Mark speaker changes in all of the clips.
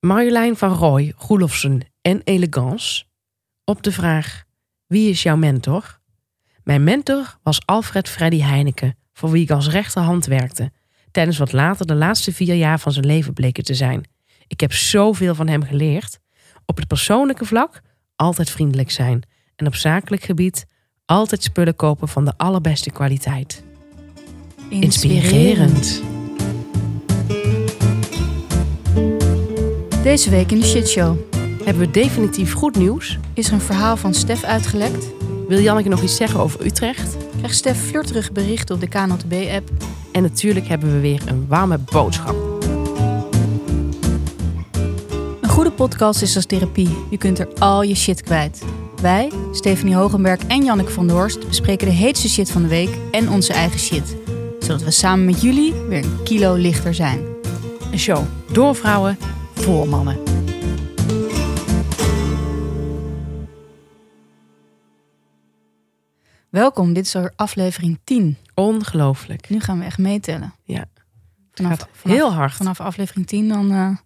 Speaker 1: Marjolein van Rooij, Roelofsen en Elegance op de vraag: Wie is jouw mentor? Mijn mentor was Alfred Freddy Heineken, voor wie ik als rechterhand werkte, tijdens wat later de laatste vier jaar van zijn leven bleken te zijn. Ik heb zoveel van hem geleerd. Op het persoonlijke vlak altijd vriendelijk zijn en op zakelijk gebied altijd spullen kopen van de allerbeste kwaliteit. Inspirerend.
Speaker 2: Deze week in de Shitshow
Speaker 1: Hebben we definitief goed nieuws?
Speaker 2: is er een verhaal van Stef uitgelekt.
Speaker 1: Wil Janneke nog iets zeggen over Utrecht?
Speaker 2: Krijgt Stef flirterig bericht op de KNLTB-app.
Speaker 1: En natuurlijk hebben we weer een warme boodschap.
Speaker 2: Een goede podcast is als therapie. Je kunt er al je shit kwijt. Wij, Stefanie Hogenberg en Janneke van der Horst, bespreken de heetste shit van de week en onze eigen shit. Zodat we samen met jullie weer een kilo lichter zijn.
Speaker 1: Een show door vrouwen voor mannen.
Speaker 2: Welkom, dit is alweer aflevering 10.
Speaker 1: Ongelooflijk.
Speaker 2: Nu gaan we echt meetellen.
Speaker 1: Ja. Het
Speaker 2: Vanaf,
Speaker 1: gaat
Speaker 2: vanaf,
Speaker 1: heel hard.
Speaker 2: vanaf aflevering 10 dan, eh,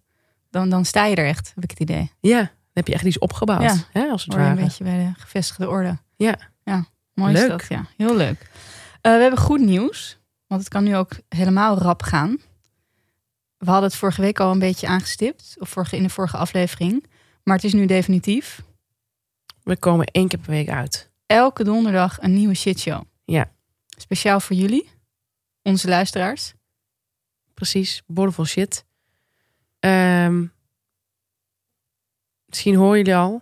Speaker 2: dan, dan sta je er echt, heb ik het idee.
Speaker 1: Ja, dan heb je echt iets opgebouwd.
Speaker 2: Ja.
Speaker 1: Hè, als het
Speaker 2: Hoor je een
Speaker 1: ware.
Speaker 2: beetje bij de gevestigde orde.
Speaker 1: Ja.
Speaker 2: Ja, mooi is
Speaker 1: Leuk.
Speaker 2: dat. Ja, heel leuk. Eh, we hebben goed nieuws, want het kan nu ook helemaal rap gaan. We hadden het vorige week al een beetje aangestipt, of vorige, in de vorige aflevering. Maar het is nu definitief.
Speaker 1: We komen één keer per week uit.
Speaker 2: Elke donderdag een nieuwe shitshow.
Speaker 1: Ja.
Speaker 2: Speciaal voor jullie, onze luisteraars.
Speaker 1: Precies. Bordevol shit. Ehm, misschien horen jullie al.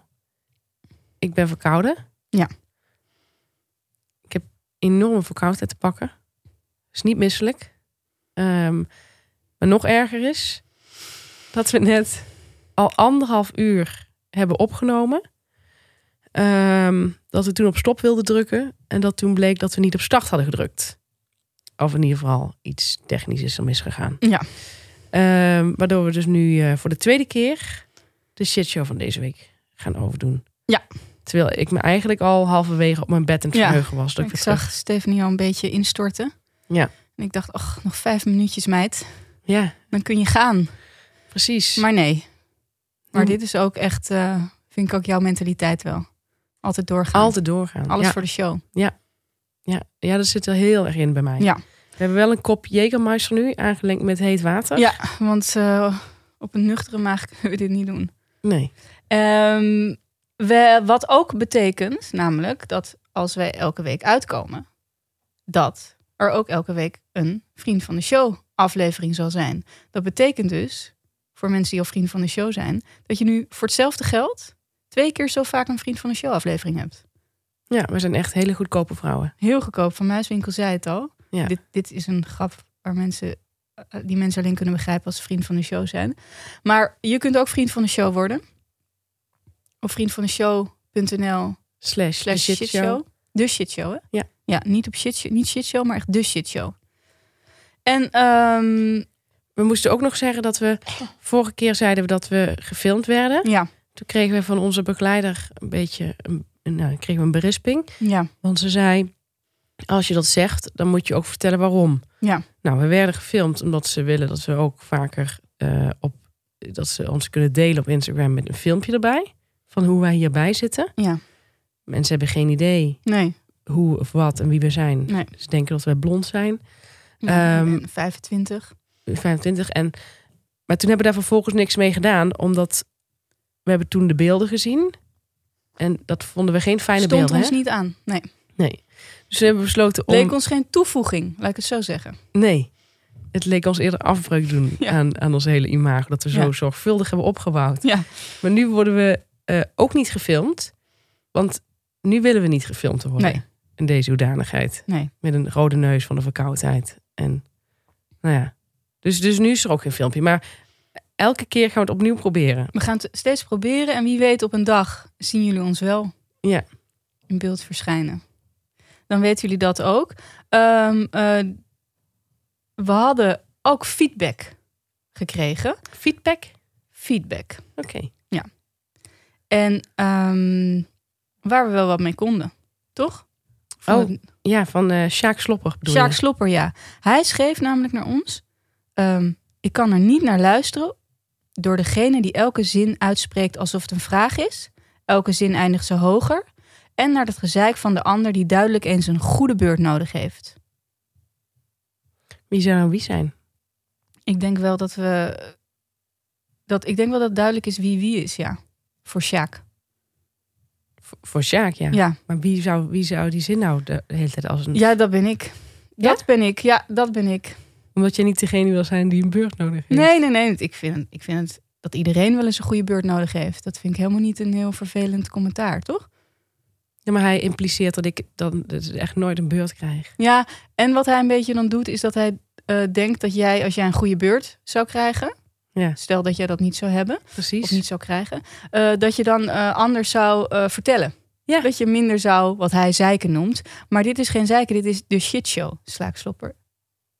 Speaker 1: Ik ben verkouden.
Speaker 2: Ja.
Speaker 1: Ik heb enorme verkoudheid te pakken. Is niet misselijk. Ehm maar nog erger is dat we net al anderhalf uur hebben opgenomen. Ehm, dat we toen op stop wilden drukken en dat toen bleek dat we niet op start hadden gedrukt. Of in ieder geval iets technisch is er misgegaan.
Speaker 2: Ja.
Speaker 1: Ehm, waardoor we dus nu eh, voor de tweede keer de shitshow van deze week gaan overdoen.
Speaker 2: Ja.
Speaker 1: Terwijl ik me eigenlijk al halverwege op mijn bed in het
Speaker 2: Ja.
Speaker 1: verheugen was. Dat ik
Speaker 2: ik
Speaker 1: weer terug-
Speaker 2: zag Stephanie al een beetje instorten.
Speaker 1: Ja.
Speaker 2: En ik dacht, ach, nog vijf minuutjes meid,
Speaker 1: Ja,
Speaker 2: dan kun je gaan.
Speaker 1: precies.
Speaker 2: Maar nee. Maar
Speaker 1: Hmm.
Speaker 2: dit is ook echt, eh, vind ik ook jouw mentaliteit wel. Altijd doorgaan.
Speaker 1: Altijd doorgaan.
Speaker 2: Alles
Speaker 1: ja.
Speaker 2: voor de show.
Speaker 1: Ja. ja, dat zit er heel erg in bij mij.
Speaker 2: Ja.
Speaker 1: We hebben wel een kop Jägermeister nu, aangelengd met heet water.
Speaker 2: Ja, want eh, op een nuchtere maag kunnen we dit niet doen.
Speaker 1: Nee.
Speaker 2: Ehm, we, wat ook betekent, namelijk dat als wij elke week uitkomen, dat er ook elke week een Vriend van de Show aflevering zal zijn. Dat betekent dus, voor mensen die al Vriend van de Show zijn, dat je nu voor hetzelfde geld twee keer zo vaak een Vriend van de Show aflevering hebt.
Speaker 1: Ja, we zijn echt hele goedkope vrouwen.
Speaker 2: Heel goedkoop, Van Muiswinkel zei het al.
Speaker 1: Ja.
Speaker 2: Dit, dit is een grap waar mensen, eh, die mensen alleen kunnen begrijpen als ze vriend van de show zijn. Maar je kunt ook vriend van de show worden. Op vriendvandeshow.nl
Speaker 1: Slash,
Speaker 2: slash
Speaker 1: de shitshow.
Speaker 2: shitshow. De shitshow, hè?
Speaker 1: Ja.
Speaker 2: Ja, niet op shitshow, niet shitshow, maar echt de shitshow. En ehm,
Speaker 1: We moesten ook nog zeggen dat we... Vorige keer zeiden we dat we gefilmd werden.
Speaker 2: ja,
Speaker 1: Toen kregen we van onze begeleider een beetje... Een, een- nou, kregen we een berisping.
Speaker 2: ja,
Speaker 1: Want ze zei... Als je dat zegt, dan moet je ook vertellen waarom.
Speaker 2: Ja.
Speaker 1: Nou, we werden gefilmd omdat ze willen dat we ook vaker eh, op... Dat ze ons kunnen delen op Instagram met een filmpje erbij. Van hoe wij hierbij zitten.
Speaker 2: Ja.
Speaker 1: Mensen hebben geen idee
Speaker 2: nee.
Speaker 1: hoe of wat en wie we zijn.
Speaker 2: Nee.
Speaker 1: Ze denken dat wij blond zijn.
Speaker 2: Ja,
Speaker 1: Ehm,
Speaker 2: ik ben 25.
Speaker 1: 25. En, maar toen hebben we daar vervolgens niks mee gedaan, omdat we hebben toen de beelden gezien. En dat vonden we geen fijne
Speaker 2: Stond
Speaker 1: beelden.
Speaker 2: ons
Speaker 1: hè?
Speaker 2: niet aan. Nee.
Speaker 1: Dus we hebben besloten om.
Speaker 2: Leek ons geen toevoeging, laat ik het zo zeggen.
Speaker 1: Nee, het leek ons eerder afbreuk doen
Speaker 2: Ja.
Speaker 1: aan, aan ons hele imago. Dat we zo
Speaker 2: Ja.
Speaker 1: zorgvuldig hebben opgebouwd.
Speaker 2: Ja.
Speaker 1: Maar nu worden we eh, ook niet gefilmd. Want nu willen we niet gefilmd worden.
Speaker 2: Nee.
Speaker 1: In deze hoedanigheid.
Speaker 2: Nee.
Speaker 1: Met een rode neus van de verkoudheid. En nou ja. Dus, dus nu is er ook geen filmpje. Maar elke keer gaan we het opnieuw proberen.
Speaker 2: We gaan het steeds proberen en wie weet op een dag zien jullie ons wel
Speaker 1: Ja.
Speaker 2: in beeld verschijnen. Dan weten jullie dat ook. Ehm, eh, we hadden ook feedback gekregen.
Speaker 1: Feedback?
Speaker 2: Feedback.
Speaker 1: Oké.
Speaker 2: En ehm, waar we wel wat mee konden, toch? Van
Speaker 1: Oh,
Speaker 2: het-
Speaker 1: Ja, van eh Sjaak Slopper bedoel
Speaker 2: Sjaak
Speaker 1: je?
Speaker 2: Slopper, ja. Hij schreef namelijk naar ons. ehm, ik kan er niet naar luisteren door degene die elke zin uitspreekt alsof het een vraag is. Elke zin eindigt ze hoger. En naar het gezeik van de ander die duidelijk eens een goede beurt nodig heeft.
Speaker 1: Wie zou nou wie zijn?
Speaker 2: Ik denk wel dat we. Dat, ik denk wel dat duidelijk is wie wie is, ja. Voor Sjaak.
Speaker 1: V- voor Sjaak, ja.
Speaker 2: ja.
Speaker 1: Maar wie zou, wie zou die zin nou de hele tijd als een...
Speaker 2: Ja, dat ben ik.
Speaker 1: Ja?
Speaker 2: Dat ben ik. Ja, dat ben ik.
Speaker 1: Omdat jij niet degene wil zijn die een beurt nodig heeft.
Speaker 2: Nee, nee, nee. Ik vind, ik vind het dat iedereen wel eens een goede beurt nodig heeft. Dat vind ik helemaal niet een heel vervelend commentaar, toch?
Speaker 1: Ja, maar hij impliceert dat ik dan dus echt nooit een beurt krijg.
Speaker 2: Ja, en wat hij een beetje dan doet, is dat hij eh, denkt dat jij, als jij een goede beurt zou krijgen,
Speaker 1: Ja.
Speaker 2: stel dat jij dat niet zou hebben,
Speaker 1: Precies.
Speaker 2: of niet zou krijgen, eh, dat je dan eh, anders zou eh, vertellen.
Speaker 1: Ja.
Speaker 2: Dat je minder zou, wat hij zeiken noemt. Maar dit is geen zeiken, dit is de shitshow, slaakslopper.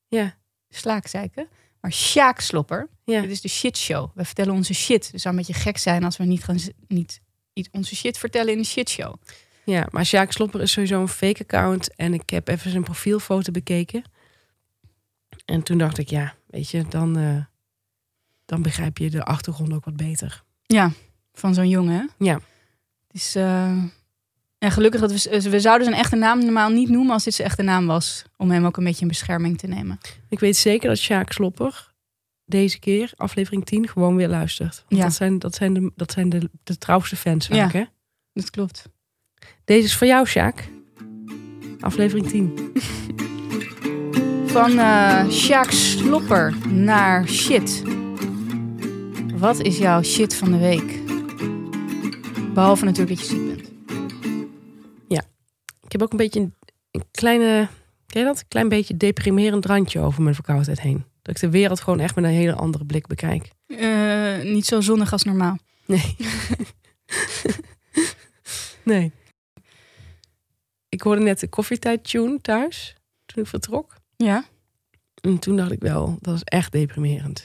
Speaker 1: Ja.
Speaker 2: Slaakzeiken. Maar sjaakslopper.
Speaker 1: Ja.
Speaker 2: Dit is de shitshow. We vertellen onze shit. Dus zou een beetje gek zijn als we niet, gaan, z- niet iets, onze shit vertellen in de shitshow.
Speaker 1: Ja, maar Sjaak Slopper is sowieso een fake account. En ik heb even zijn profielfoto bekeken. En toen dacht ik, ja, weet je, dan, eh, dan begrijp je de achtergrond ook wat beter.
Speaker 2: Van zo'n jongen, hè?
Speaker 1: Ja.
Speaker 2: Het is, eh, En gelukkig, dat we, z- eh, we zouden zijn echte naam normaal niet noemen als dit zijn echte naam was. Om hem ook een beetje in bescherming te nemen.
Speaker 1: Ik weet zeker dat Sjaak Slopper deze keer, aflevering 10, gewoon weer luistert. Want
Speaker 2: Ja.
Speaker 1: dat zijn, dat zijn, de, dat zijn de, de trouwste fans vaak, hè?
Speaker 2: Dat klopt.
Speaker 1: Deze is voor jou, Sjaak. Aflevering 10.
Speaker 2: Van eh Sjaak Slopper naar shit. Wat is jouw shit van de week? Behalve natuurlijk dat je ziek bent.
Speaker 1: Ik heb ook een beetje een, een kleine, ken je dat? Een klein beetje deprimerend randje over mijn verkoudheid heen. Dat ik de wereld gewoon echt met een hele andere blik bekijk.
Speaker 2: Eh, niet zo zonnig als normaal.
Speaker 1: Nee. nee. Ik hoorde net de koffietijd-tune thuis toen ik vertrok.
Speaker 2: Ja? Nou,
Speaker 1: En toen dacht ik wel, dat is echt deprimerend.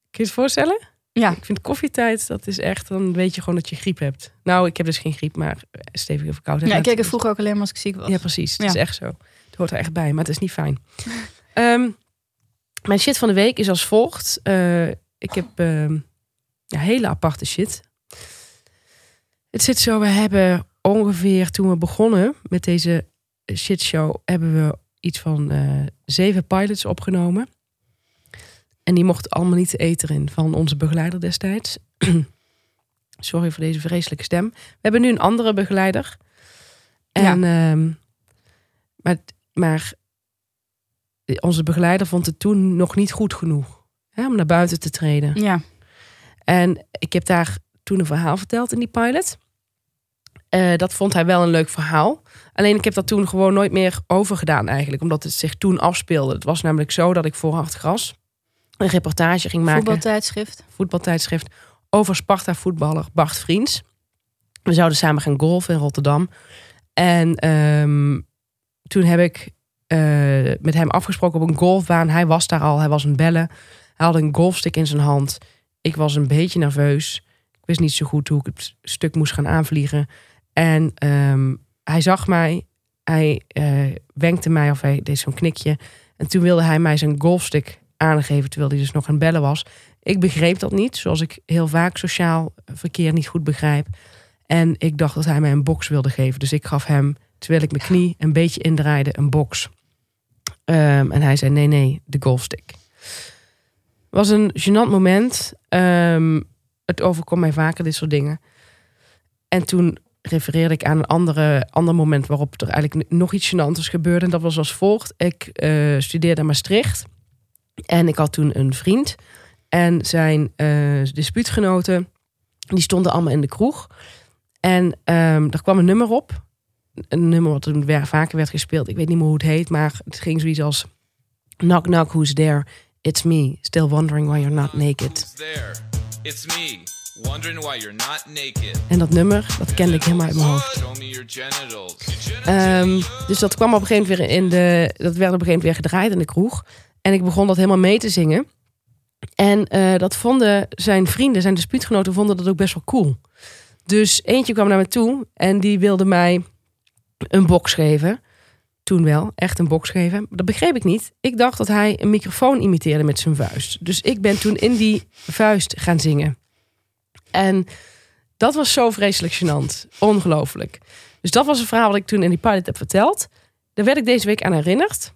Speaker 1: Kun je het voorstellen?
Speaker 2: Ja.
Speaker 1: Ik vind koffietijd, dat is echt, dan weet je gewoon dat je griep hebt. Nou, ik heb dus geen griep, maar eh, stevige verkoudheid.
Speaker 2: Ja, ik
Speaker 1: Maar het
Speaker 2: keek er
Speaker 1: is-
Speaker 2: vroeger ook alleen maar als ik ziek was.
Speaker 1: Ja, precies. Het
Speaker 2: Ja.
Speaker 1: is echt zo. Het hoort er echt bij, maar het is niet fijn. Ehm, mijn shit van de week is als volgt. Eh, ik heb ehm, ja, hele aparte shit. Het zit zo, we hebben ongeveer toen we begonnen met deze shitshow... hebben we iets van eh, zeven pilots opgenomen. En die mochten allemaal niet de eter in van onze begeleider destijds. Sorry voor deze vreselijke stem. We hebben nu een andere begeleider. En, ehm, maar, maar eh, onze begeleider vond het toen nog niet goed genoeg hè, om naar buiten te treden.
Speaker 2: Ja,
Speaker 1: En ik heb daar toen een verhaal verteld in die pilot. Eh, dat vond hij wel een leuk verhaal. Alleen ik heb dat toen gewoon nooit meer overgedaan eigenlijk. Omdat het zich toen afspeelde. Het was namelijk zo dat ik voor Hard Gras een reportage ging maken
Speaker 2: voetbaltijdschrift.
Speaker 1: voetbaltijdschrift over Sparta voetballer Bart Vriends. We zouden samen gaan golfen in Rotterdam. En ehm, toen heb ik eh, met hem afgesproken op een golfbaan. Hij was daar al, hij was aan het bellen. Hij had een golfstick in zijn hand. Ik was een beetje nerveus. Ik wist niet zo goed hoe ik het stuk moest gaan aanvliegen. En ehm, hij zag mij. Hij eh, wenkte mij of hij deed zo'n knikje. En toen wilde hij mij zijn golfstick aangeven terwijl hij dus nog aan het bellen was. Ik begreep dat niet, zoals ik heel vaak sociaal verkeer niet goed begrijp. En ik dacht dat hij mij een box wilde geven. Dus ik gaf hem, terwijl ik mijn knie een beetje indraaide, een box. Ehm, en hij zei, nee, nee, de golfstick. was een gênant moment. Ehm, het overkomt mij vaker, dit soort dingen. En toen refereerde ik aan een andere, ander moment... waarop er eigenlijk nog iets gênants gebeurde. En dat was als volgt. Ik eh, studeerde in Maastricht. En ik had toen een vriend. En zijn eh, dispuutgenoten, die stonden allemaal in de kroeg. En ehm er kwam een nummer op. Een nummer wat toen weer- vaker werd gespeeld. Ik weet niet meer hoe het heet, maar het ging zoiets als... Knock, knock, who's there? It's me. Still wondering why you're not naked.
Speaker 3: Who's there? It's me, wondering why you're not naked.
Speaker 1: En dat nummer, dat kende ik helemaal uit mijn hoofd.
Speaker 3: Show me your genitals.
Speaker 1: Ehm, dus dat kwam op een gegeven moment weer in de. Dat werd op een gegeven moment weer gedraaid in de kroeg. En ik begon dat helemaal mee te zingen. En eh, dat vonden zijn vrienden, zijn dispuutgenoten, vonden dat ook best wel cool. Dus eentje kwam naar me toe en die wilde mij een box geven. toen wel echt een box geven. Maar Dat begreep ik niet. Ik dacht dat hij een microfoon imiteerde met zijn vuist. Dus ik ben toen in die vuist gaan zingen. En dat was zo vreselijk gênant. Ongelooflijk. Dus dat was een verhaal wat ik toen in die pilot heb verteld. Daar werd ik deze week aan herinnerd.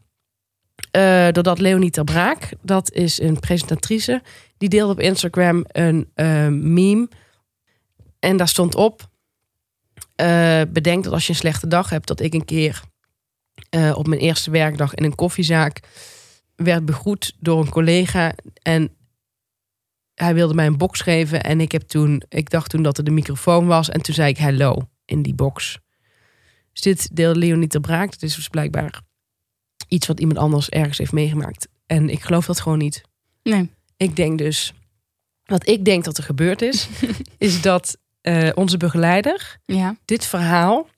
Speaker 1: Eh, doordat Leonie Ter Braak, dat is een presentatrice, die deelde op Instagram een eh, meme. En daar stond op: eh, Bedenk dat als je een slechte dag hebt, dat ik een keer eh, op mijn eerste werkdag in een koffiezaak werd begroet door een collega. En hij wilde mij een box geven. En ik, heb toen, ik dacht toen dat er de microfoon was. En toen zei ik hello in die box. Dus dit deelde Leonie ter Braak. Dat is dus blijkbaar iets wat iemand anders ergens heeft meegemaakt. En ik geloof dat gewoon niet.
Speaker 2: Nee.
Speaker 1: Ik denk dus, wat ik denk dat er gebeurd is, is dat eh, onze begeleider
Speaker 2: Ja.
Speaker 1: dit verhaal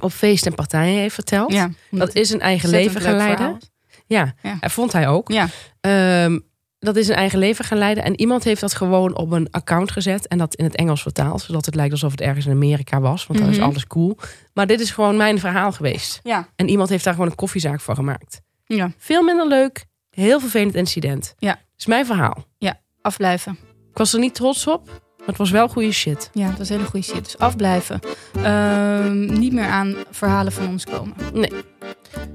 Speaker 1: op feesten en partijen heeft verteld.
Speaker 2: ja.
Speaker 1: Dat is een eigen leven gaan leiden. Ja,
Speaker 2: Ja.
Speaker 1: hij vond hij ook.
Speaker 2: Ja.
Speaker 1: Ehm, dat is een eigen leven gaan leiden. En iemand heeft dat gewoon op een account gezet. En dat in het Engels vertaald. Zodat het lijkt alsof het ergens in Amerika was. Want dan
Speaker 2: Mhm.
Speaker 1: is alles cool. Maar dit is gewoon mijn verhaal geweest.
Speaker 2: Ja.
Speaker 1: En iemand heeft daar gewoon een koffiezaak van gemaakt.
Speaker 2: Ja.
Speaker 1: Veel minder leuk. Heel vervelend incident.
Speaker 2: Ja.
Speaker 1: Dat is mijn verhaal.
Speaker 2: Afblijven.
Speaker 1: Ik was er niet trots op. Maar het was wel goede shit.
Speaker 2: Ja, dat is hele goede shit. Dus afblijven. Ehm, niet meer aan verhalen van ons komen.
Speaker 1: Wat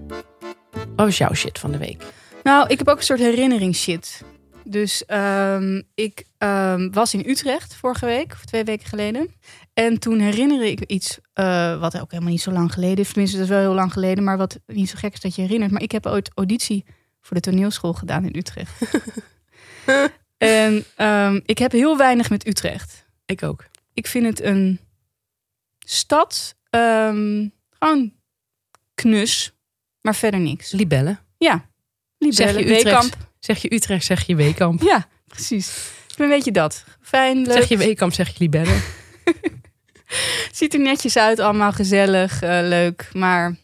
Speaker 1: was Oh, jouw shit van de week?
Speaker 2: Nou, ik heb ook een soort herinneringsshit. Dus ehm, ik ehm, was in Utrecht vorige week, of twee weken geleden. En toen herinnerde ik me iets eh, wat ook helemaal niet zo lang geleden is. Tenminste, dat is wel heel lang geleden, maar wat niet zo gek is dat je herinnert. Maar ik heb ooit auditie voor de toneelschool gedaan in Utrecht. en ehm, ik heb heel weinig met Utrecht.
Speaker 1: Ik ook.
Speaker 2: Ik vind het een stad, ehm, gewoon knus, maar verder niks.
Speaker 1: Libellen.
Speaker 2: Ja,
Speaker 1: Zeg je
Speaker 2: Libelle,
Speaker 1: Utrecht?
Speaker 2: Weekamp.
Speaker 1: Zeg je Utrecht, zeg je Weekamp.
Speaker 2: Ja, precies. Ik ben een beetje dat. Fijn, leuk.
Speaker 1: Zeg je Weekamp, zeg je Libellen.
Speaker 2: Ziet er netjes uit, allemaal gezellig, eh, leuk. Maar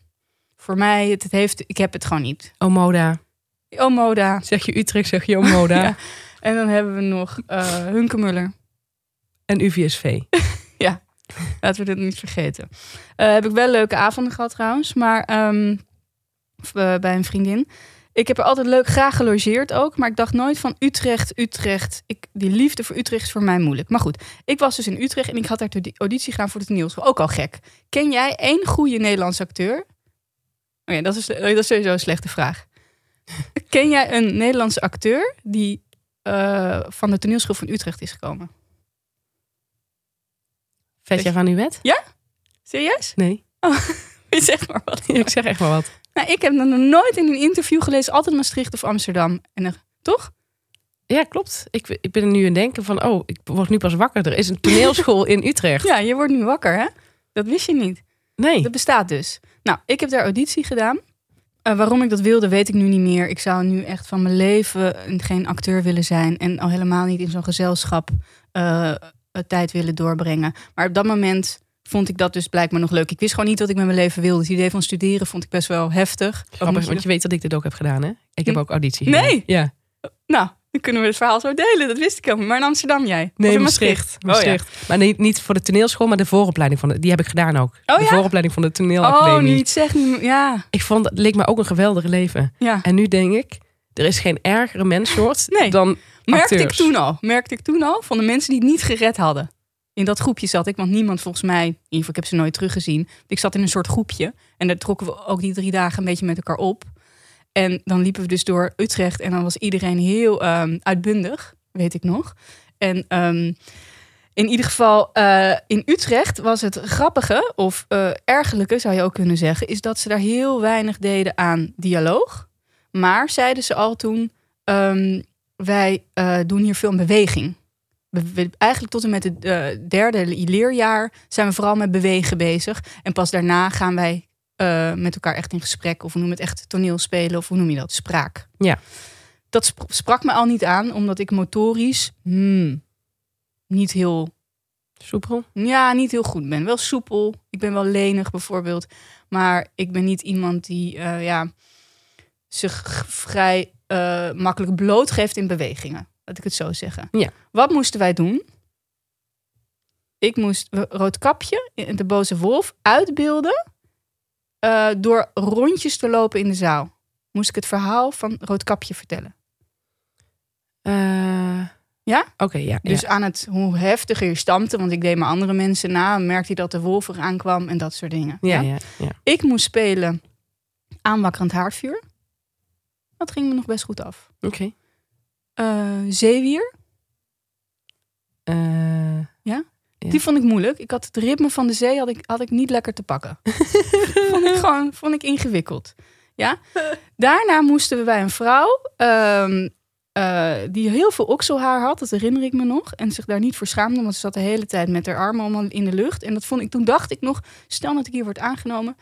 Speaker 2: voor mij, het, het heeft, ik heb het gewoon niet.
Speaker 1: Omoda.
Speaker 2: Oh, Moda.
Speaker 1: Zeg je Utrecht, zeg je Omoda.
Speaker 2: Ja. En dan hebben we nog eh Hunkemuller.
Speaker 1: En UVSV.
Speaker 2: Laten we dit niet vergeten. Eh, heb ik wel leuke avonden gehad trouwens. Maar ehm, of, eh, bij een vriendin. Ik heb er altijd leuk graag gelogeerd ook. Maar ik dacht nooit van Utrecht, Utrecht. Ik, die liefde voor Utrecht is voor mij moeilijk. Maar goed, ik was dus in Utrecht en ik had daar de auditie gaan voor het nieuws. Ook al gek. Ken jij één goede Nederlandse acteur? Oh ja, dat is, eh, dat is sowieso een slechte vraag. Ken jij een Nederlandse acteur die eh, van de toneelschool van Utrecht is gekomen?
Speaker 1: Vet jij van uw wet?
Speaker 2: Serieus?
Speaker 1: Nee.
Speaker 2: Zeg maar wat.
Speaker 1: Ik zeg echt maar wat.
Speaker 2: Nou, ik heb dat nog nooit in een interview gelezen. Altijd Maastricht of Amsterdam. En dan, toch?
Speaker 1: Ja, klopt. Ik, ik ben er nu aan het denken van, oh, ik word nu pas wakker. Er is een toneelschool in Utrecht.
Speaker 2: Ja, je wordt nu wakker, hè? Dat wist je niet.
Speaker 1: Nee.
Speaker 2: Dat bestaat dus. Nou, ik heb daar auditie gedaan. Eh, waarom ik dat wilde, weet ik nu niet meer. Ik zou nu echt van mijn leven geen acteur willen zijn. En al helemaal niet in zo'n gezelschap eh, eh, tijd willen doorbrengen. Maar op dat moment vond ik dat dus blijkbaar nog leuk. Ik wist gewoon niet wat ik met mijn leven wilde. Het idee van studeren vond ik best wel heftig. Ook
Speaker 1: Grappig,
Speaker 2: Oh, moet je
Speaker 1: want je weet dat ik dit ook heb gedaan, hè? Ik heb
Speaker 2: Hm?
Speaker 1: ook auditie
Speaker 2: Nee.
Speaker 1: gedaan. Ja.
Speaker 2: Nou, dan kunnen we het verhaal zo delen. Dat wist ik helemaal. Maar in Amsterdam jij? Of
Speaker 1: Nee,
Speaker 2: in
Speaker 1: Maastricht.
Speaker 2: Oh, ja.
Speaker 1: Maastricht. Maar niet, niet voor de toneelschool, maar de vooropleiding van de... Die heb ik gedaan ook.
Speaker 2: Oh,
Speaker 1: de
Speaker 2: ja?
Speaker 1: vooropleiding van de
Speaker 2: Oh, nu
Speaker 1: toneelacademie.
Speaker 2: je het zegt. nu- Ja,
Speaker 1: Ik vond, het leek me ook een geweldig leven.
Speaker 2: ja.
Speaker 1: En nu denk ik, er is geen ergere menssoort
Speaker 2: Nee.
Speaker 1: dan
Speaker 2: Merkte ik
Speaker 1: acteurs.
Speaker 2: toen al. Merkte ik toen al van de mensen die het niet gered hadden. In dat groepje zat ik, want niemand volgens mij... In ieder geval, ik heb ze nooit teruggezien. Ik zat in een soort groepje. En daar trokken we ook die drie dagen een beetje met elkaar op. En dan liepen we dus door Utrecht. En dan was iedereen heel ehm, uitbundig, weet ik nog. En ehm, in ieder geval, eh, in Utrecht was het grappige, of eh ergelijke zou je ook kunnen zeggen, is dat ze daar heel weinig deden aan dialoog. Maar zeiden ze al toen, ehm, wij eh, doen hier veel in beweging. We- we- eigenlijk tot en met het eh, derde leerjaar zijn we vooral met bewegen bezig. En pas daarna gaan wij eh, met elkaar echt in gesprek, of we noemen het echt toneelspelen, of hoe noem je dat, spraak.
Speaker 1: Ja.
Speaker 2: Dat sp- sprak me al niet aan, omdat ik motorisch hmm, niet heel
Speaker 1: Soepel.
Speaker 2: ja, niet heel goed ben. Wel soepel. Ik ben wel lenig bijvoorbeeld. Maar ik ben niet iemand die eh, ja, zich g- vrij eh, makkelijk blootgeeft in bewegingen. Laat ik het zo zeggen.
Speaker 1: Ja.
Speaker 2: Wat moesten wij doen? Ik moest Roodkapje en de Boze Wolf uitbeelden eh, door rondjes te lopen in de zaal moest ik het verhaal van Roodkapje vertellen.
Speaker 1: Eh,
Speaker 2: Ja?
Speaker 1: Oké, ja. ja.
Speaker 2: Dus aan het hoe heftiger je stampte, want ik deed me andere mensen na, merkte hij dat de wolf eraan kwam en dat soort dingen.
Speaker 1: ja,
Speaker 2: Ja?
Speaker 1: ja, ja.
Speaker 2: Ik moest spelen aanwakkerend haardvuur. Dat ging me nog best goed af.
Speaker 1: Oké.
Speaker 2: Eh, zeewier,
Speaker 1: Eh, Ja.
Speaker 2: die vond ik moeilijk. Ik had het ritme van de zee had ik, had ik niet lekker te pakken. vond ik gewoon vond ik ingewikkeld. Ja? Daarna moesten we bij een vrouw ehm, eh, die heel veel okselhaar had, dat herinner ik me nog, en zich daar niet voor schaamde, want ze zat de hele tijd met haar armen allemaal in de lucht. En dat vond ik, toen dacht ik nog, stel dat ik hier word aangenomen,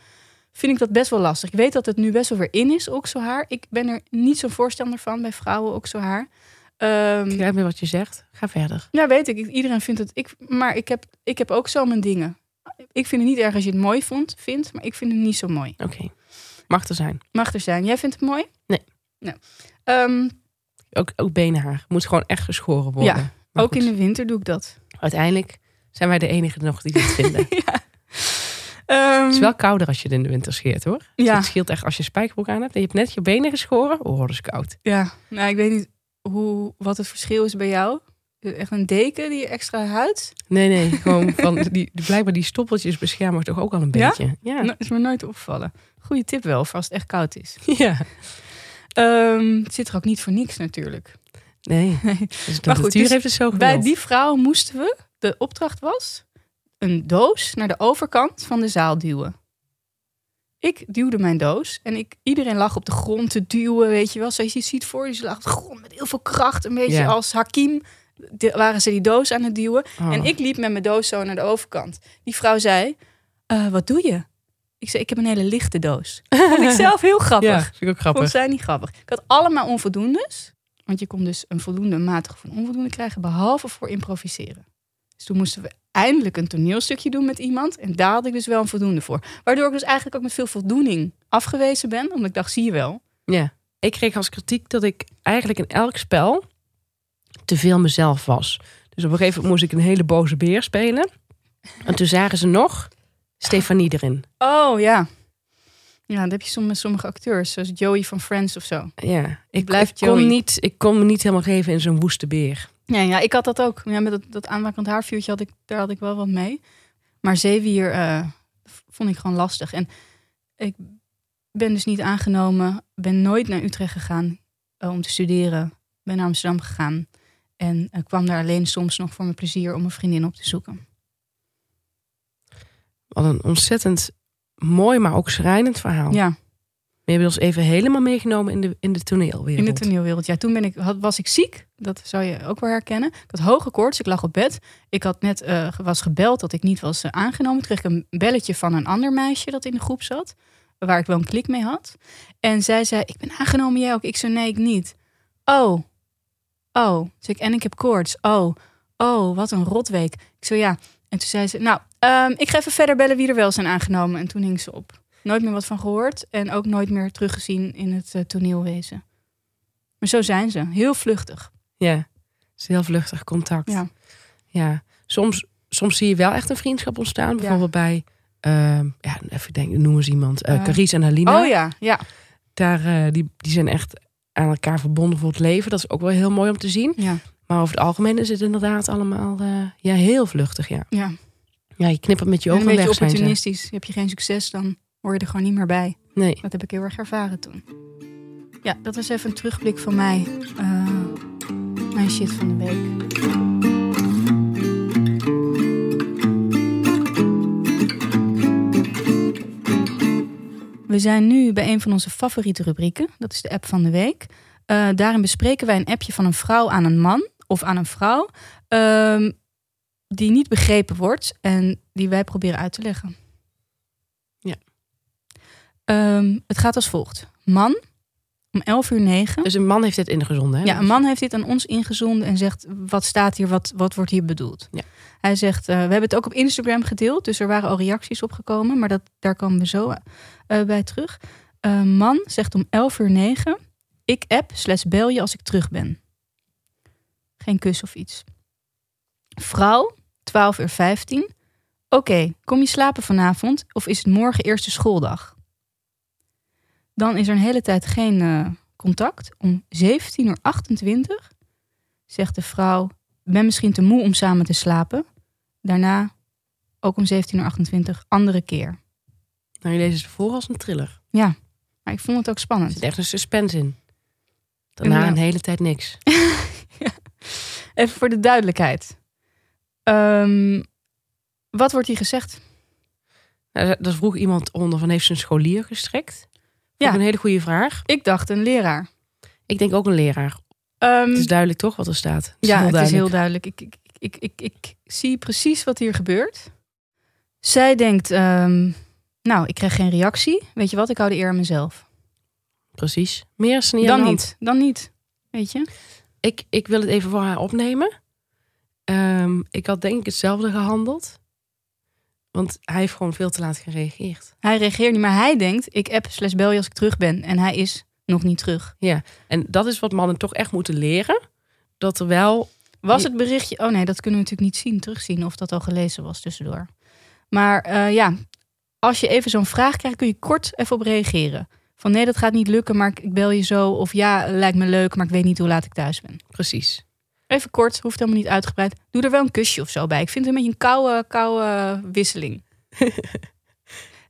Speaker 2: vind ik dat best wel lastig. Ik weet dat het nu best wel weer in is, okselhaar. Ik ben er niet zo'n voorstander van bij vrouwen, okselhaar.
Speaker 1: ik
Speaker 2: Ehm
Speaker 1: begrijp niet wat je zegt. Ga verder.
Speaker 2: ja, weet ik. Ik- Iedereen vindt het. Ik, maar ik heb, ik heb ook zo mijn dingen. Ik vind het niet erg als je het mooi vond, vindt, maar ik vind het niet zo mooi.
Speaker 1: Oké. Mag er zijn.
Speaker 2: Mag er zijn. Jij vindt het mooi?
Speaker 1: Nee.
Speaker 2: Nou, ehm,
Speaker 1: Ook, ook benenhaar. Moet gewoon echt geschoren worden.
Speaker 2: Ja,
Speaker 1: Maar
Speaker 2: ook
Speaker 1: goed,
Speaker 2: in de winter doe ik dat.
Speaker 1: Uiteindelijk zijn wij de enigen nog die dit vinden.
Speaker 2: ja. Ehm,
Speaker 1: Het is wel kouder als je het in de winter scheert hoor. Dus
Speaker 2: ja,
Speaker 1: Het scheelt echt als je een spijkerbroek aan hebt en je hebt net je benen geschoren. Oh, dat is koud.
Speaker 2: ja. Nou, ik weet niet hoe, wat het verschil is bij jou. Echt een deken die extra huid.
Speaker 1: Nee, nee. Gewoon van die, die- blijkbaar die stoppeltjes beschermen toch ook al een
Speaker 2: Ja? Nou.
Speaker 1: beetje. Ja.
Speaker 2: No- is me nooit opgevallen. Goede tip wel, voor als het echt koud is.
Speaker 1: ja.
Speaker 2: Ehm, het zit er ook niet voor niks natuurlijk.
Speaker 1: Nee. Dus de
Speaker 2: Maar goed,
Speaker 1: natuur
Speaker 2: dus
Speaker 1: heeft het zo
Speaker 2: Bij
Speaker 1: gewild.
Speaker 2: die vrouw moesten we, de opdracht was, een doos naar de overkant van de zaal duwen. Ik duwde mijn doos en ik, iedereen lag op de grond te duwen, weet je wel. Zoals je ziet voor je, ze lag op de grond met heel veel kracht, een beetje
Speaker 1: Ja.
Speaker 2: als Hakim. De- waren ze die doos aan het duwen.
Speaker 1: Oh.
Speaker 2: En ik liep met mijn doos zo naar de overkant. Die vrouw zei, "Eh, wat doe je? Ik zei, ik heb een hele lichte doos. Vond ik zelf heel grappig.
Speaker 1: Ja, vind ik ook grappig.
Speaker 2: Vond zij niet grappig. Ik had allemaal onvoldoendes. Want je kon dus een voldoende, een matige of een onvoldoende krijgen, behalve voor improviseren. Dus toen moesten we eindelijk een toneelstukje doen met iemand. En daar had ik dus wel een voldoende voor. Waardoor ik dus eigenlijk ook met veel voldoening afgewezen ben. Omdat ik dacht, zie je wel.
Speaker 1: Ja. Ik kreeg als kritiek dat ik eigenlijk in elk spel te veel mezelf was. Dus op een gegeven moment moest ik een hele boze beer spelen. En toen zagen ze nog Stefanie erin.
Speaker 2: Oh ja. Ja, dat heb je soms met sommige acteurs. Zoals Joey van Friends of zo.
Speaker 1: Ja, ik,
Speaker 2: Blijft
Speaker 1: ik, kon
Speaker 2: Joey.
Speaker 1: niet, ik kon me niet helemaal geven in zo'n woeste beer.
Speaker 2: Ja, ja, ik had dat ook. Ja, met dat, dat aanwakend haarvuurtje had ik, daar had ik wel wat mee. Maar zeewier eh vond ik gewoon lastig. En ik ben dus niet aangenomen. Ben nooit naar Utrecht gegaan eh, om te studeren. Ben naar Amsterdam gegaan. En eh, kwam daar alleen soms nog voor mijn plezier om een vriendin op te zoeken.
Speaker 1: Wat een ontzettend mooi, maar ook schrijnend verhaal.
Speaker 2: Ja,
Speaker 1: We hebben ons even helemaal meegenomen in de, in de toneelwereld.
Speaker 2: in de toneelwereld. Ja, toen ben ik, had, was ik ziek. Dat zou je ook wel herkennen. Ik had hoge koorts. Ik lag op bed. Ik had net eh, ge- was gebeld dat ik niet was eh, aangenomen. Toen kreeg ik een belletje van een ander meisje dat in de groep zat. Waar ik wel een klik mee had. En zij zei, ik ben aangenomen, jij ook? Ik zei, nee, ik niet. Oh. Oh. Zeg ik, en ik heb koorts. Oh. Oh, wat een rotweek. Ik zei, ja. En toen zei ze, nou, ehm, ik ga even verder bellen wie er wel zijn aangenomen. En toen hing ze op. Nooit meer wat van gehoord. En ook nooit meer teruggezien in het eh, toneelwezen. Maar zo zijn ze. Heel vluchtig.
Speaker 1: Ja, het is heel vluchtig contact.
Speaker 2: Ja.
Speaker 1: Ja. Soms, soms zie je wel echt een vriendschap ontstaan. Bijvoorbeeld bij, ehm, ja, even denken, noem eens iemand. eh
Speaker 2: Eh,
Speaker 1: Carice en Halina.
Speaker 2: Oh ja, ja.
Speaker 1: Daar, eh, die, die zijn echt aan elkaar verbonden voor het leven. Dat is ook wel heel mooi om te zien.
Speaker 2: Ja.
Speaker 1: Maar over het algemeen is het inderdaad allemaal eh, ja, heel vluchtig. Ja.
Speaker 2: ja.
Speaker 1: ja, je knippert met je
Speaker 2: En
Speaker 1: ogen
Speaker 2: een beetje
Speaker 1: weg. Zijn ze.
Speaker 2: opportunistisch. Heb je geen succes, dan hoor je er gewoon niet meer bij.
Speaker 1: Nee,
Speaker 2: Dat heb ik heel erg ervaren toen. Ja, dat was even een terugblik van mij. Eh, mijn shit van de week. We zijn nu bij een van onze favoriete rubrieken. Dat is de app van de week. Eh, daarin bespreken wij een appje van een vrouw aan een man of aan een vrouw. ehm, die niet begrepen wordt en die wij proberen uit te leggen.
Speaker 1: Ja.
Speaker 2: Ehm, het gaat als volgt. Man, om 11 uur 9.
Speaker 1: dus een man heeft dit ingezonden. Hè? dus-
Speaker 2: Ja, een man heeft dit aan ons ingezonden en zegt: wat staat hier, wat, wat wordt hier bedoeld?
Speaker 1: Ja.
Speaker 2: Hij zegt: eh, we hebben het ook op Instagram gedeeld, dus er waren al reacties op gekomen, maar dat, daar komen we zo eh, bij terug. Eh, man zegt om 11 uur 9: ik app slash bel je als ik terug ben. Geen kus of iets. Vrouw, 12 uur 15. Oké, kom je slapen vanavond of is het morgen eerste schooldag? Dan is er een hele tijd geen eh, contact. Om 17.28 uur zegt de vrouw: "Ik ben misschien te moe om samen te slapen. Daarna, ook om 17.28 uur, andere keer.
Speaker 1: Nou, je leest het voor als een thriller.
Speaker 2: Maar ik vond het ook
Speaker 1: Er
Speaker 2: spannend.
Speaker 1: zit echt een suspense in. Daarna
Speaker 2: Ja.
Speaker 1: een hele tijd niks.
Speaker 2: Even voor de duidelijkheid. Ehm, wat wordt hier gezegd?
Speaker 1: Nou, dat vroeg iemand onder van heeft ze een scholier gestrekt? Ja.
Speaker 2: Ja.
Speaker 1: een hele goede vraag.
Speaker 2: Ik dacht een leraar.
Speaker 1: Ik denk ook een leraar.
Speaker 2: Ehm,
Speaker 1: Het is duidelijk toch wat er staat? Het is
Speaker 2: ja,
Speaker 1: heel
Speaker 2: het is
Speaker 1: duidelijk.
Speaker 2: heel duidelijk. Ik, ik, ik, ik, ik zie precies wat hier gebeurt. Zij denkt, ehm, nou, ik krijg geen reactie. Weet je wat, ik hou de eer aan mezelf.
Speaker 1: Precies. Meer is er niet aan
Speaker 2: dan
Speaker 1: de hand.
Speaker 2: niet, dan niet. Weet je?
Speaker 1: Ik, ik wil het even voor haar opnemen. Ehm, ik had denk ik hetzelfde gehandeld. Want hij heeft gewoon veel te laat gereageerd.
Speaker 2: Hij reageert niet, maar hij denkt, ik app slash bel je als ik terug ben. En hij is nog niet terug.
Speaker 1: En dat is wat mannen toch echt moeten leren. Dat er wel...
Speaker 2: Was
Speaker 1: Je-
Speaker 2: het berichtje... Oh nee, dat kunnen we natuurlijk niet zien, terugzien of dat al gelezen was tussendoor. Maar eh, ja, als je even zo'n vraag krijgt, kun je kort even op reageren. Van nee, dat gaat niet lukken, maar ik- ik bel je zo. Of ja, lijkt me leuk, maar ik weet niet hoe laat ik thuis ben.
Speaker 1: Precies.
Speaker 2: Even kort, hoeft helemaal niet uitgebreid. Doe er wel een kusje of zo bij. Ik vind het een beetje een koude, koude wisseling.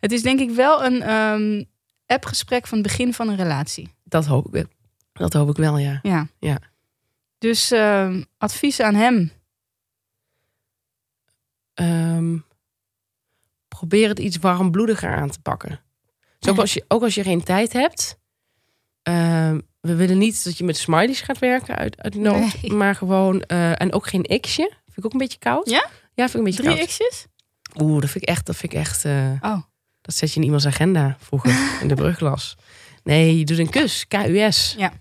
Speaker 2: het is denk ik wel een ehm appgesprek van het begin van een relatie.
Speaker 1: Dat hoop ik wel. Dat hoop ik wel, ja.
Speaker 2: Ja.
Speaker 1: Ja.
Speaker 2: Dus ehm, advies aan hem.
Speaker 1: Ehm, probeer het iets warmbloediger aan te pakken. Dus ook,
Speaker 2: Ja.
Speaker 1: als je, ook als je geen tijd hebt. ehm, we willen niet dat je met smileys gaat werken uit, uit nood.
Speaker 2: Nee.
Speaker 1: Maar gewoon... eh, en ook geen x'je. Vind ik ook een beetje koud.
Speaker 2: Ja?
Speaker 1: Ja, vind ik een beetje koud.
Speaker 2: Drie x's?
Speaker 1: Oeh, dat vind ik echt. Dat vind ik echt. eh,
Speaker 2: Oh.
Speaker 1: Dat zet je in iemands agenda vroeger in de brugklas. Nee, je doet een kus. K-U-S.
Speaker 2: Ja.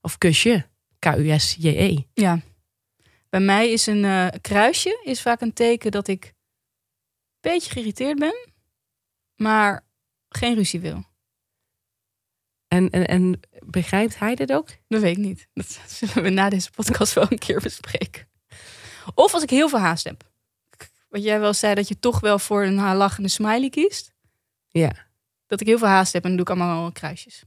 Speaker 1: Of kusje. K-U-S-J-E.
Speaker 2: Ja. Bij mij is een eh, kruisje is vaak een teken dat ik een beetje geïrriteerd ben, maar geen ruzie wil.
Speaker 1: En, en, en begrijpt hij dit ook?
Speaker 2: Dat weet ik niet. Dat zullen we na deze podcast wel een keer bespreken. Of als ik heel veel haast heb. Wat jij wel zei, dat je toch wel voor een lachende smiley kiest.
Speaker 1: Ja.
Speaker 2: Dat ik heel veel haast heb en dan doe ik allemaal kruisjes.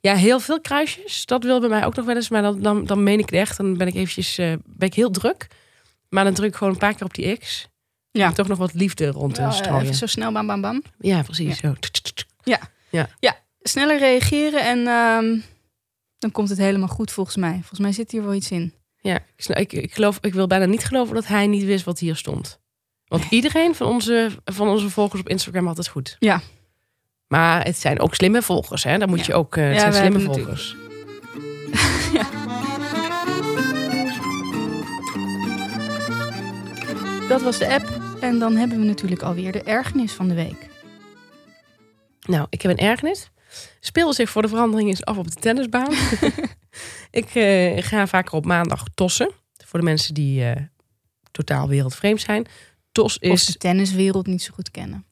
Speaker 1: Ja, heel veel kruisjes. Dat wil bij mij ook nog wel eens. Maar dan, dan, dan meen ik het echt. Dan ben ik eventjes eh, ben ik heel druk. Maar dan druk ik gewoon een paar keer op die X.
Speaker 2: Ja.
Speaker 1: Om toch nog wat liefde rond te
Speaker 2: Wel, eh,
Speaker 1: strooien.
Speaker 2: even zo snel, bam, bam, bam.
Speaker 1: Ja, precies. Zo. Tsk, tsk, tsk.
Speaker 2: Sneller reageren en ehm, dan komt het helemaal goed volgens mij. Volgens mij zit hier wel iets in.
Speaker 1: Ja, ik, sna- ik, ik, geloof, ik wil bijna niet geloven dat hij niet wist wat hier stond. Want iedereen van onze, van onze volgers op Instagram had het goed.
Speaker 2: Ja.
Speaker 1: Maar het zijn ook slimme volgers, hè? Dan moet
Speaker 2: Ja.
Speaker 1: je ook. eh, het
Speaker 2: Ja,
Speaker 1: zijn
Speaker 2: we
Speaker 1: slimme
Speaker 2: hebben natuurlijk-
Speaker 1: volgers.
Speaker 2: Dat was de app. En dan hebben we natuurlijk alweer de ergernis van de week.
Speaker 1: Nou, ik heb een ergernis. Speel zich voor de verandering eens af op de tennisbaan. ik eh, ga vaker op maandag tossen. Voor de mensen die eh, totaal wereldvreemd zijn. Tos
Speaker 2: Of de
Speaker 1: is
Speaker 2: tenniswereld niet zo goed kennen.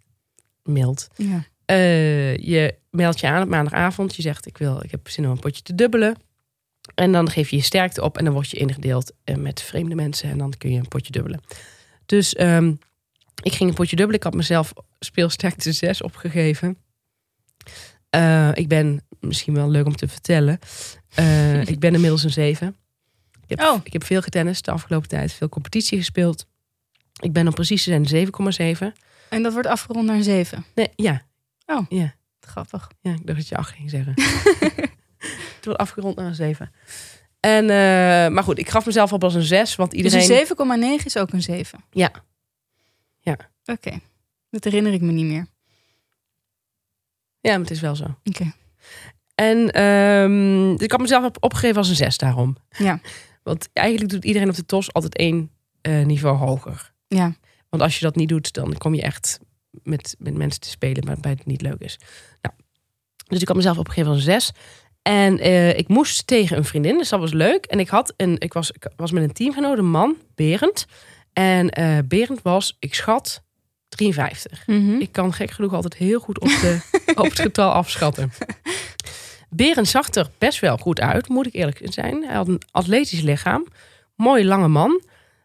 Speaker 1: mild.
Speaker 2: Ja.
Speaker 1: Eh, je meldt je aan op maandagavond. Je zegt, ik, wil, ik heb zin om een potje te dubbelen. En dan geef je je sterkte op en dan word je ingedeeld eh, met vreemde mensen. En dan kun je een potje dubbelen. Dus ehm, ik ging een potje dubbelen. Ik had mezelf speelsterkte 6 opgegeven. Eh, ik ben, misschien wel leuk om te vertellen, eh, ik ben inmiddels een 7. Ik heb,
Speaker 2: Oh.
Speaker 1: ik heb veel getennist de afgelopen tijd, veel competitie gespeeld. Ik ben om precies te zijn een 7,7.
Speaker 2: En dat wordt afgerond naar Dus een 7.
Speaker 1: Nee, ja,
Speaker 2: Grappig.
Speaker 1: ja, ik dacht dat je 8 ging zeggen. Het wordt afgerond naar een 7. En, eh, maar goed, ik gaf mezelf op als een 6, want iedereen...
Speaker 2: Dus een 7,9 is ook een 7.
Speaker 1: Ja. Ja.
Speaker 2: Oké. Dat herinner ik me niet meer.
Speaker 1: Ja, maar het is wel zo.
Speaker 2: Oké.
Speaker 1: En ehm, dus ik had mezelf op, opgegeven als een 6 daarom.
Speaker 2: Ja.
Speaker 1: Want eigenlijk doet iedereen op de TOS altijd één eh, niveau hoger.
Speaker 2: Ja.
Speaker 1: Want als je dat niet doet, dan kom je echt met, met mensen te spelen waarbij het niet leuk is. Nou, dus ik had mezelf opgegeven als een 6. En eh, ik moest tegen een vriendin, dus dat was leuk. En ik, had een, ik, was, ik was met een teamgenoot, een man, Berend. En eh, Berend was, ik schat, 53.
Speaker 2: Mhm.
Speaker 1: Ik kan gek genoeg altijd heel goed op, de, op het getal afschatten. Berend zag er best wel goed uit, moet ik eerlijk zijn. Hij had een atletisch lichaam, mooi lange man.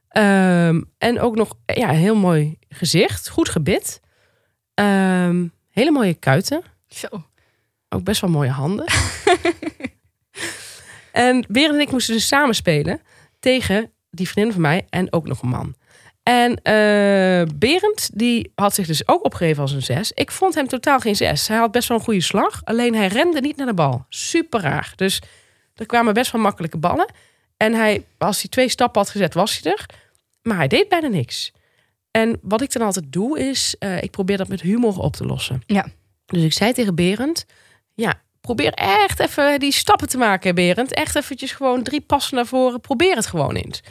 Speaker 1: Ehm, en ook nog ja, een heel mooi gezicht, goed gebit. Ehm, hele mooie kuiten.
Speaker 2: Zo.
Speaker 1: Ook best wel mooie handen. en Berend en ik moesten dus samen spelen tegen die vriendin van mij en ook nog een man. En eh, Berend, die had zich dus ook opgegeven als een zes. Ik vond hem totaal geen zes. Hij had best wel een goede slag, alleen hij rende niet naar de bal. Super raar. Dus er kwamen best wel makkelijke ballen. En hij, als hij twee stappen had gezet, was hij er. Maar hij deed bijna niks. En wat ik dan altijd doe, is eh, ik probeer dat met humor op te lossen.
Speaker 2: Ja.
Speaker 1: Dus ik zei tegen Berend, ja, probeer echt even die stappen te maken, Berend. Echt eventjes gewoon drie passen naar voren. Probeer het gewoon eens.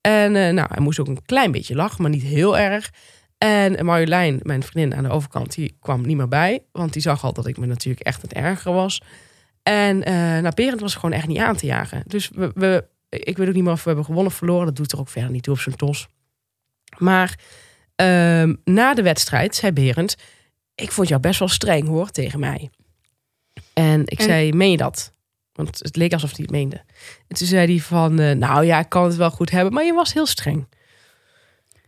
Speaker 1: En eh, nou, hij moest ook een klein beetje lachen, maar niet heel erg. En Marjolein, mijn vriendin aan de overkant, die kwam niet meer bij. Want die zag al dat ik me natuurlijk echt het erger was. En eh nou, Berend was gewoon echt niet aan te jagen. Dus we, we, ik weet ook niet meer of we hebben gewonnen of verloren. Dat doet er ook verder niet toe op zijn tos. Maar ehm, na de wedstrijd zei Berend... Ik vond jou best wel streng hoor, tegen mij. En ik
Speaker 2: En-
Speaker 1: zei, meen je dat? Want het leek alsof hij het meende. En toen zei hij van, eh, nou ja, ik kan het wel goed hebben, maar je was heel streng.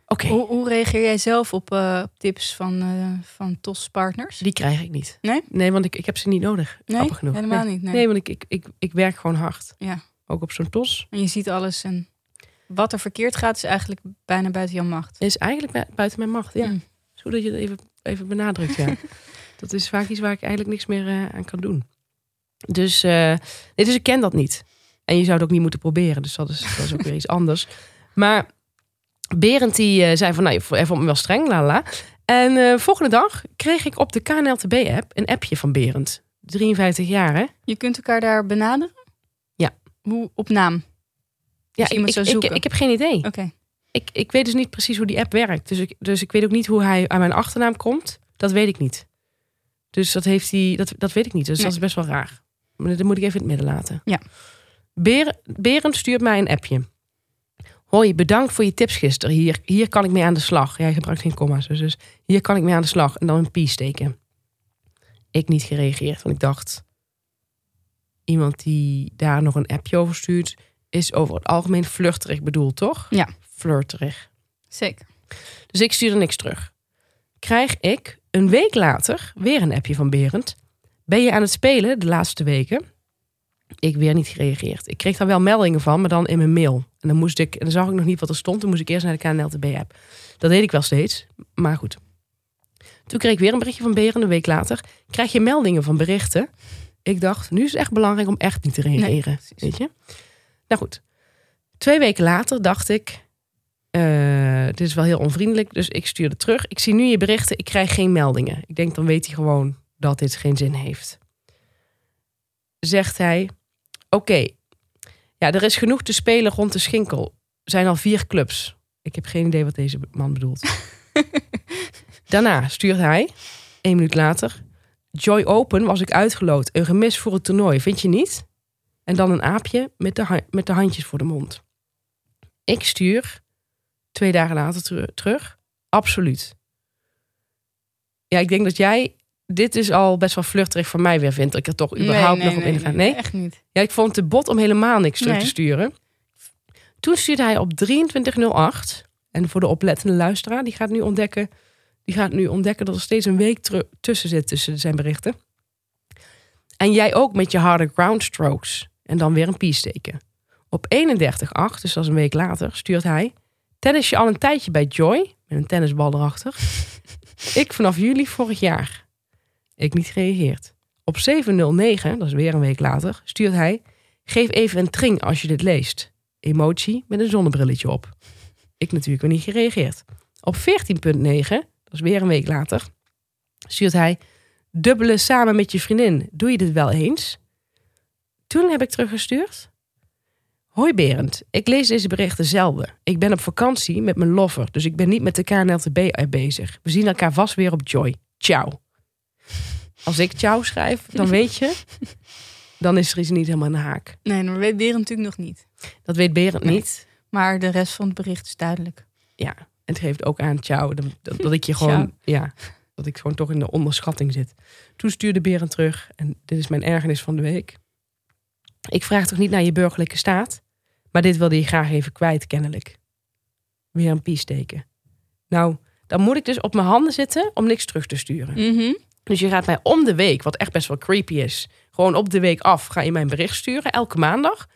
Speaker 1: Oké,
Speaker 2: Hoe, hoe reageer jij zelf op eh, tips van, eh van TOS-partners?
Speaker 1: die krijg ik niet.
Speaker 2: Nee?
Speaker 1: Nee, want ik, ik heb ze niet nodig.
Speaker 2: Nee,
Speaker 1: Grappig genoeg.
Speaker 2: helemaal
Speaker 1: nee.
Speaker 2: niet. Nee.
Speaker 1: Nee, want ik, ik, ik, ik werk gewoon hard.
Speaker 2: Ja.
Speaker 1: Ook op zo'n tos.
Speaker 2: En je ziet alles en wat er verkeerd gaat is eigenlijk bijna buiten jouw macht.
Speaker 1: Is eigenlijk bu- buiten mijn macht. Ja.
Speaker 2: Mm.
Speaker 1: Zo dat je dat even, even benadrukt. Ja. dat is vaak iets waar ik eigenlijk niks meer eh, aan kan doen. Dus, eh, nee, dus ik ken dat niet. En je zou het ook niet moeten proberen. Dus dat is, dat is ook weer iets anders. Maar Berend die eh, zei van, nou, je vo- hij vond me wel streng, la la, la. En eh, volgende dag kreeg ik op de KNLTB-app een appje van Berend. 53 jaar, hè?
Speaker 2: Je kunt elkaar daar benaderen?
Speaker 1: Ja.
Speaker 2: Hoe, op naam? Dus iemand
Speaker 1: ik,
Speaker 2: zou
Speaker 1: ik, ik,
Speaker 2: zoeken.
Speaker 1: ik heb geen idee.
Speaker 2: Oké.
Speaker 1: Ik, ik weet dus niet precies hoe die app werkt. Dus ik, dus ik weet ook niet hoe hij aan mijn achternaam komt. Dat weet ik niet. Dus dat heeft hij, dat, dat weet ik niet. Dus
Speaker 2: Nee.
Speaker 1: dat is best wel raar. Maar dat moet ik even in het midden laten.
Speaker 2: Ja.
Speaker 1: Ber- Berend stuurt mij een appje. Hoi, bedankt voor je tips gisteren. Hier, hier kan ik mee aan de slag. Jij gebruikt geen comma's, dus, dus hier kan ik mee aan de slag. En dan een pie steken. Ik niet gereageerd, want ik dacht... iemand die daar nog een appje over stuurt... is over het algemeen vluchterig bedoeld, toch?
Speaker 2: Ja.
Speaker 1: Flirterig.
Speaker 2: Zeker.
Speaker 1: Dus ik stuurde niks terug. Krijg ik een week later weer een appje van Berend. Ben je aan het spelen de laatste weken? Ik weer niet gereageerd. Ik kreeg daar wel meldingen van, maar dan in mijn mail. En dan moest ik, en dan zag ik nog niet wat er stond. Toen moest ik eerst naar de KNLTB-app. Dat deed ik wel steeds, maar goed. Toen kreeg ik weer een berichtje van Berend een week later. Krijg je meldingen van berichten? Ik dacht, nu is het echt belangrijk om echt niet te reageren.
Speaker 2: precies.
Speaker 1: weet je? Nou goed. Twee weken later dacht ik, eh, dit is wel heel onvriendelijk, dus ik stuurde terug. Ik zie nu je berichten, ik krijg geen meldingen. Ik denk, dan weet hij gewoon dat dit geen zin heeft. Zegt hij, oké, ja, er is genoeg te spelen rond de schinkel. Er zijn al vier clubs. Ik heb geen idee wat deze man bedoelt. Daarna stuurt hij, één minuut later... Joy Open was ik uitgeloot. Een gemis voor het toernooi, vind je niet? En dan een aapje met de, ha- met de handjes voor de mond. Ik stuur twee dagen later teru- terug. Absoluut. Ja, ik denk dat jij dit is al best wel vluchterig van mij weer vindt. Dat ik er toch überhaupt nog op inga. Nee?
Speaker 2: Echt niet.
Speaker 1: Ja, ik vond het te bot om helemaal niks terug
Speaker 2: Nee.
Speaker 1: te sturen. Toen stuurde hij op 2308. En voor de oplettende luisteraar, die gaat nu ontdekken, die gaat nu ontdekken dat er steeds een week teru- tussen zit tussen zijn berichten. En jij ook met je harde ground strokes. En dan weer een pie steken. Op 31.8, dus dat is een week later, stuurt hij... Tennis je al een tijdje bij Joy, met een tennisbal erachter. ik vanaf juli vorig jaar. Ik niet gereageerd. Op 709, dat is weer een week later, stuurt hij... Geef even een tring als je dit leest. Emotie met een zonnebrilletje op. Ik natuurlijk weer niet gereageerd. Op 14.9, dat is weer een week later, stuurt hij... Dubbelen samen met je vriendin, doe je dit wel eens? Toen heb ik teruggestuurd... Hoi Berend, ik lees deze berichten zelden. Ik ben op vakantie met mijn lover, dus ik ben niet met de KNLTB bezig. We zien elkaar vast weer op Joy. Ciao. Als ik ciao schrijf, dan weet je... dan is er iets niet helemaal aan de haak.
Speaker 2: Nee, dan weet Beren natuurlijk nog niet.
Speaker 1: Dat weet Berend
Speaker 2: Nee.
Speaker 1: niet.
Speaker 2: Maar de rest van het bericht is duidelijk.
Speaker 1: Ja, en het geeft ook aan ciao. Dat, dat, dat ik je gewoon, ja, dat ik gewoon toch in de onderschatting zit. Toen stuurde Berend terug, en dit is mijn ergernis van de week. Ik vraag toch niet naar je burgerlijke staat, maar dit wilde je graag even kwijt, kennelijk. Weer een pie steken. Nou, dan moet ik dus op mijn handen zitten om niks terug te sturen.
Speaker 2: Mhm.
Speaker 1: Dus je gaat mij om de week, wat echt best wel creepy is, gewoon op de week af, ga je mij een bericht sturen, elke maandag.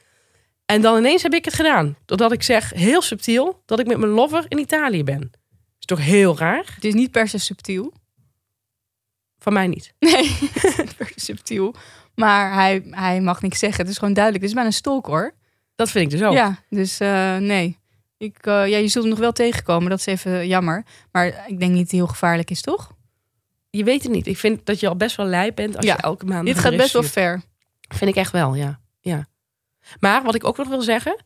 Speaker 1: En dan ineens heb ik het gedaan. Doordat ik zeg, heel subtiel, dat ik met mijn lover in Italië ben. Is toch heel raar?
Speaker 2: Het is niet per se subtiel.
Speaker 1: Van mij niet.
Speaker 2: Nee, het is niet per se subtiel. Maar hij, hij mag niks zeggen. Het is gewoon duidelijk. Het is bijna een stalk hoor.
Speaker 1: Dat vind ik dus ook.
Speaker 2: Ja, dus eh, nee. Ik, eh, ja, je zult hem nog wel tegenkomen. Dat is even jammer. Maar ik denk niet dat hij heel gevaarlijk is, toch?
Speaker 1: Je weet het niet. Ik vind dat je al best wel lui bent als
Speaker 2: Ja.
Speaker 1: je elke maand.
Speaker 2: Dit
Speaker 1: een
Speaker 2: gaat
Speaker 1: bericht
Speaker 2: best wel
Speaker 1: stuurt.
Speaker 2: ver.
Speaker 1: Vind ik echt wel, ja. ja. Maar wat ik ook nog wil zeggen,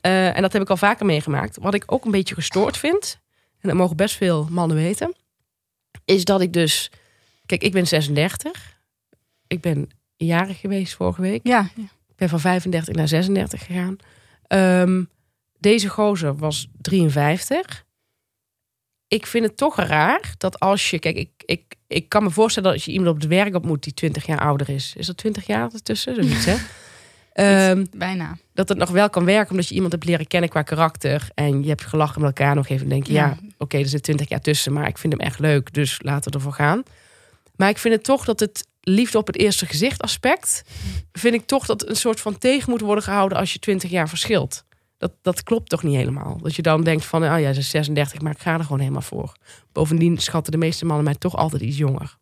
Speaker 1: eh, en dat heb ik al vaker meegemaakt, wat ik ook een beetje gestoord vind, en dat mogen best veel mannen weten, is dat ik dus. Kijk, ik ben 36. Ik ben jarig geweest vorige week.
Speaker 2: Ja,
Speaker 1: Ik ben van 35 naar 36 gegaan. Ehm, deze gozer was 53. Ik vind het toch raar dat als je... Kijk, ik, ik, ik kan me voorstellen dat als je iemand op het werk op moet die 20 jaar ouder is. Is dat 20 jaar ertussen? Zoiets, hè? Ehm,
Speaker 2: bijna.
Speaker 1: dat het nog wel kan werken omdat je iemand hebt leren kennen qua karakter. En je hebt gelachen met elkaar. En op een gegeven moment denk je, ja,
Speaker 2: Ja.
Speaker 1: oké, er zit 20 jaar tussen. Maar ik vind hem echt leuk, dus laten we ervoor gaan. Maar ik vind het toch dat het liefde op het eerste gezicht aspect... vind ik toch dat een soort van tegen moet worden gehouden als je 20 jaar verschilt. Dat, dat klopt toch niet helemaal. Dat je dan denkt van, oh ja, ze is 36, maar ik ga er gewoon helemaal voor. Bovendien schatten de meeste mannen mij toch altijd iets jonger.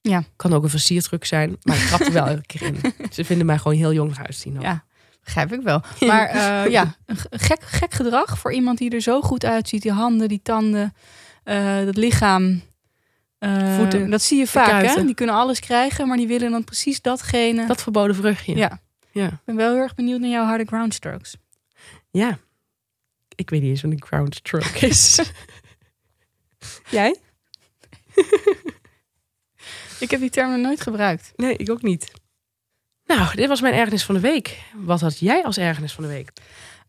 Speaker 2: Ja.
Speaker 1: Kan ook een versierdruk zijn, maar ik trap er wel elke keer in. Ze vinden mij gewoon heel jong uitzien.
Speaker 2: Ja. Begrijp ik wel. Maar eh, ja, een g- gek, gek gedrag voor iemand die er zo goed uitziet. Die handen, die tanden, eh dat lichaam. eh,
Speaker 1: Voeten.
Speaker 2: Dat zie je vaak, hè?
Speaker 1: kuiten.
Speaker 2: Die kunnen alles krijgen, maar die willen dan precies datgene.
Speaker 1: Dat verboden vruchtje.
Speaker 2: Ja.
Speaker 1: ja.
Speaker 2: Ik ben wel heel erg benieuwd naar jouw harde groundstrokes.
Speaker 1: Ja. Ik weet niet eens wat een ground stroke is. Jij?
Speaker 2: Ik heb die term nog nooit gebruikt.
Speaker 1: Nee, ik ook niet. Nou, dit was mijn ergernis van de week. Wat had jij als ergernis van de week?